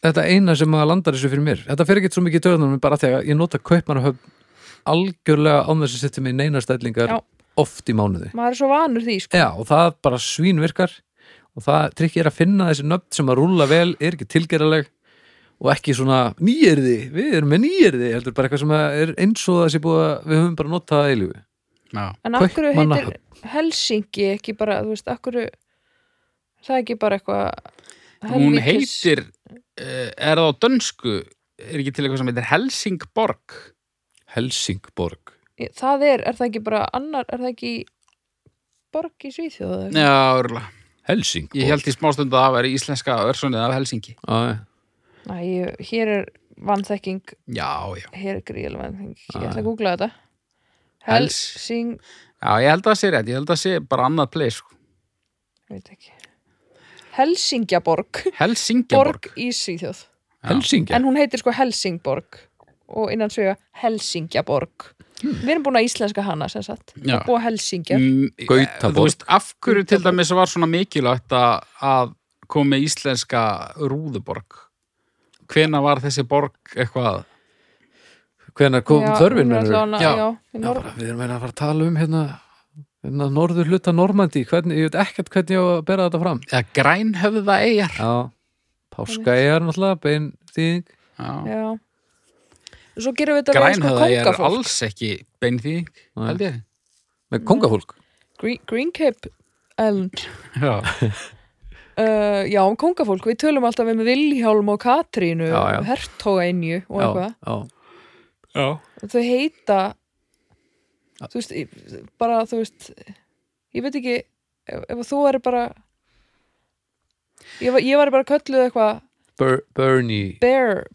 Speaker 4: þetta eina sem að landar þessu fyrir mér Þetta fer ekki svo mikið í töðunum bara af því að ég nota kaupmannahöfn algjörlega án þess að setja mig í neina stællingar
Speaker 2: Já.
Speaker 4: oft í mánuði
Speaker 2: maður er svo vanur því sko.
Speaker 4: Já, og það bara svínvirkar og það trikk er að finna þessi nöfn sem að rúlla vel, er ekki tilgerðaleg og ekki svona nýjörði við erum með nýjörði, heldur bara eitthvað sem að er eins og það sé búið að við höfum bara notað það eilífi.
Speaker 1: Já.
Speaker 2: en af hverju heitir
Speaker 4: Kaupmannahöfn.
Speaker 2: Helsingi ekki bara, þú veist, af hverju það er ekki bara eitthvað
Speaker 1: Hún
Speaker 2: helvítis-
Speaker 1: heitir, eh, er það á dönsku, er ekki til eitthvað sem heitir Helsingborg.
Speaker 4: Helsingborg
Speaker 2: það er, er það ekki bara annar, er það ekki borg í Svíþjóð eða eitthvað?
Speaker 1: Já, örgulega.
Speaker 4: Helsingborg
Speaker 1: Ég held í smástund að það væri íslenska versunnið af Helsingi.
Speaker 4: að,
Speaker 2: Æ, ég- hér er vannþekking
Speaker 1: Já, já.
Speaker 2: hér er gríðlega vannþekking, ég
Speaker 4: Ah.
Speaker 2: ætla að googla þetta
Speaker 1: Hels-
Speaker 2: Helsing,
Speaker 1: Já, ég held að það sé rétt. Ég held að það sé bara annað place. Sko.
Speaker 2: ég veit ekki Helsingjaborg
Speaker 1: Helsingborg.
Speaker 2: borg í Svíþjóð,
Speaker 4: Helsingja
Speaker 2: en hún heitir sko Helsingborg og innan svega Helsingjaborg
Speaker 1: Hmm.
Speaker 2: við erum búin að íslenska hana sem sagt
Speaker 1: Já.
Speaker 2: og Helsingjar,
Speaker 1: Mm,
Speaker 4: Gautaborg.
Speaker 1: Þú veist, af hverju til dæmis var svona mikilvægt að, að koma með íslenska rúðuborg? Hvena var þessi borg eitthvað?
Speaker 4: Hvenær kom
Speaker 2: Já, hún
Speaker 4: þörfin?
Speaker 2: er
Speaker 4: meinarðu?
Speaker 2: allavega-
Speaker 1: Já.
Speaker 2: já, í
Speaker 4: Já,
Speaker 2: Nor-
Speaker 4: bara, við erum meira að fara að tala um hérna, hérna norður hluta Normandi hvernig, ég veit ekkert hvernig ég á að bera þetta fram
Speaker 1: Eða grænhöfða eigar?
Speaker 4: Já, Páskaeyjar náttúrulega bein þýðing
Speaker 1: Já.
Speaker 2: já svo gerum við þetta við sko
Speaker 1: Grænhöfða eigar
Speaker 2: kongafólk
Speaker 1: alls ekki beinþýðing,
Speaker 4: Nei.
Speaker 1: held ég.
Speaker 4: með
Speaker 2: Mhm.
Speaker 4: kongafólk
Speaker 2: Green, Green Cape Island
Speaker 1: Já.
Speaker 2: uh, já, um kongafólk, við tölum alltaf um Vilhjálm og Katrínu
Speaker 4: Já, já.
Speaker 2: og Hertogainju og eitthvað
Speaker 4: já,
Speaker 1: Já.
Speaker 2: þau heita þú veist, í- bara þú veist ég veit ekki ef, ef þú væri bara ég, var- ég væri bara kölluð eitthvað
Speaker 4: Ber Bernie
Speaker 2: bear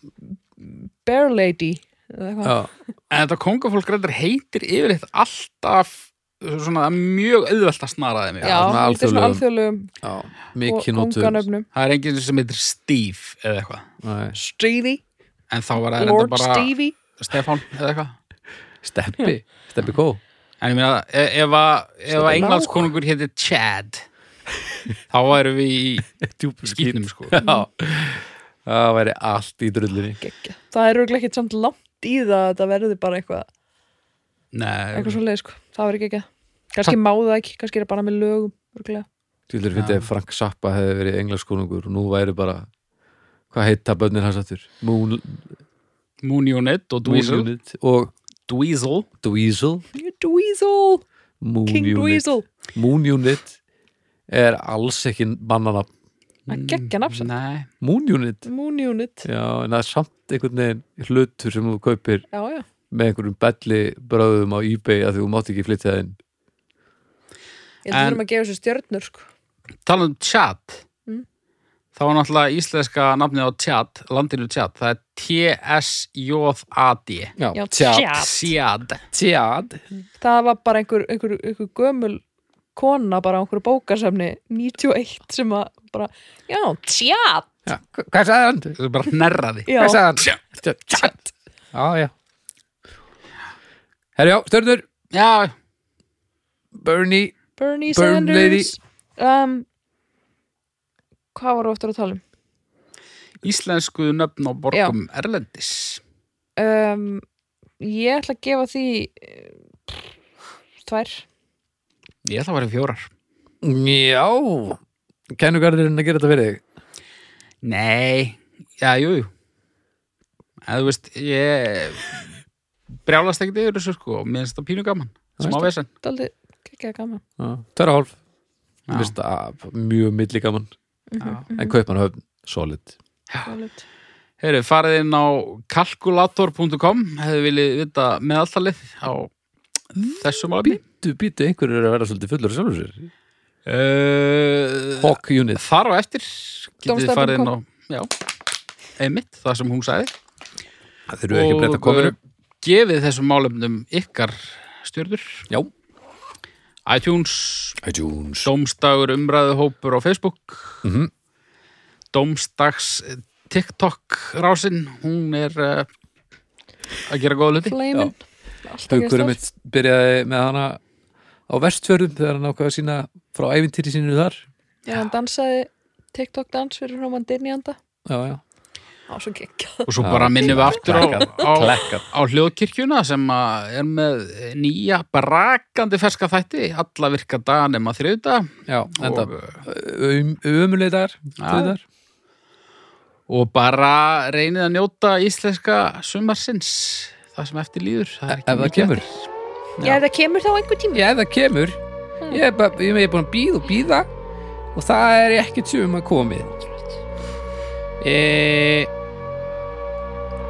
Speaker 2: bear lady eða eitthvað.
Speaker 4: já,
Speaker 1: En þetta kongafólk reyndar heitir yfirleitt alltaf svona mjög auðvelt að snaraði mig.
Speaker 2: já,
Speaker 4: svona
Speaker 2: þetta er svona alþjóðlegum
Speaker 4: já,
Speaker 2: og
Speaker 4: mikið nótur
Speaker 2: konganöfnum
Speaker 1: Það er enginn sem heitir Steve eða eitthvað.
Speaker 2: Stevie,
Speaker 1: En þá var það reyndar
Speaker 2: Lord
Speaker 1: bara
Speaker 2: Stevie
Speaker 1: Stefán eða eitthvað.
Speaker 4: Steppi, Steppi Kó
Speaker 1: En ég meina, e- ef að- ef að
Speaker 2: Stefán.
Speaker 1: englandskonungur héti Chad, þá værum við í skýtnum, sko.
Speaker 4: já, það væri allt í drullinni
Speaker 2: Gekkja. það er örugglega ekkert samt langt í það að það verði bara eitthvað,
Speaker 1: Nei,
Speaker 2: eitthvað svo leið sko. það verður ekki ekki kannski má það ekki, kannski er það bara með lögum örugglega.
Speaker 4: Tvílur fyndi ef Frank Zappa hefði verið englaskonungur og nú væri bara hvað heita bönnir hans aftur Moon,
Speaker 1: Moon Unit og
Speaker 4: Moon
Speaker 1: Dweezil.
Speaker 4: Unit og
Speaker 1: Dweezil.
Speaker 4: Dweezil
Speaker 2: Dweezil,
Speaker 4: Moon
Speaker 2: King
Speaker 4: Unit.
Speaker 2: Dweezil
Speaker 4: Moon Unit er alls ekki mannanab
Speaker 1: Mm.
Speaker 2: að geggja nafn samt.
Speaker 1: Nei,
Speaker 4: Moon Unit
Speaker 2: Moon Unit
Speaker 4: já, en það er samt einhvern veginn hlutur sem þú kaupir
Speaker 2: já, já.
Speaker 4: með einhverjum belli bröðum á eBay að því þú mátt ekki flytja það inn
Speaker 2: Ég held að
Speaker 1: En-
Speaker 2: við erum að gefa þessu stjörnur sko.
Speaker 1: tala um Chad.
Speaker 2: Mm.
Speaker 1: Það var náttúrulega íslenska nafnið á Chad, landinu Chad. Það er T-S-J-A-D.
Speaker 2: Já,
Speaker 1: Tjad.
Speaker 4: tjad
Speaker 2: Það var bara einhver, einhver, einhver gömul kona bara á einhverju bókasemni 91 sem að bara, já, tját
Speaker 4: já, hva- hvað sagði hann?
Speaker 1: Það er bara hnerraði.
Speaker 2: Já,
Speaker 4: hvað sagði hann?
Speaker 1: Tjad.
Speaker 4: tjad já, já herjá, störnur
Speaker 1: Já,
Speaker 4: Bernie
Speaker 2: Bernie
Speaker 4: Burn lady.
Speaker 2: Sanders um, Hvað voru oftur að tala um?
Speaker 1: íslensku nöfn á borgum Erlendis.
Speaker 2: um? Ég ætla að gefa því eh, tvær
Speaker 1: Ég ætla að vera fjórar.
Speaker 4: já kennugarðurinn að gera þetta fyrir þig
Speaker 1: Nei, já, jú, jú. En þú veist, ég brjálast ekkert yfir þessu sko, og mér finnst það pínu gaman.
Speaker 4: Það
Speaker 1: Smá vesen.
Speaker 2: Daldi, ekki að gaman
Speaker 4: Já, tverra hálf
Speaker 1: Já.
Speaker 4: Mér finnst það mjög milligaman
Speaker 1: Já.
Speaker 4: Mhm. en kaupmannahöfn, solid
Speaker 2: Solid.
Speaker 1: Heyri, farið inn á kalkulator.com hefðu viljið vita meðalltalið á þessum álefni.
Speaker 3: Býtu, býtu, einhverjur er að vera svolítið fullur af sjálfur sér
Speaker 1: Uh,
Speaker 3: Hawk unit
Speaker 1: þar á eftir getið þið
Speaker 2: Dómstaf.com.
Speaker 1: farið inn á já, einmitt, það sem hún sagði.
Speaker 3: Það þurfum ekki að breyta
Speaker 1: Og,
Speaker 3: kominu
Speaker 4: eh,
Speaker 1: uh, gefið þessum málefnum ykkar stjörður.
Speaker 3: Já.
Speaker 1: iTunes,
Speaker 3: iTunes
Speaker 1: Dómstagur umræðuhópur á Facebook,
Speaker 3: Mhm.
Speaker 1: Dómstags TikTok rásin, hún er uh, að gera góða hluti.
Speaker 2: Flamin
Speaker 3: Haukurum mitt byrjaði með hana á vestfjörðum þegar hann ákvaða sína frá ævintýri sínu þar
Speaker 2: Já, hann dansaði TikTok dans fyrir Róman Dynjanda
Speaker 3: Já, já
Speaker 2: Á, svo gekk
Speaker 1: Og svo
Speaker 3: Já.
Speaker 1: bara minnum við aftur á,
Speaker 3: Klekkar.
Speaker 1: á,
Speaker 3: Klekkar
Speaker 1: á hljóðkirkjuna sem að er með nýja brakandi ferska þætti, alla virka daga nema þriðda
Speaker 3: Já, enda
Speaker 1: og, eh,
Speaker 3: um, Ömulegar
Speaker 1: Já. og bara reynið að njóta íslenska sumarsins það sem eftir líður það er
Speaker 3: Ef
Speaker 1: ekki
Speaker 3: það
Speaker 1: mikið
Speaker 3: kemur
Speaker 2: Já, það kemur þá einhver tíma
Speaker 3: Já, ef það kemur Ég er, bara, ég er búin að býða og býða og það er ekkert sem að komið e,
Speaker 1: eftir.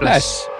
Speaker 3: Bless.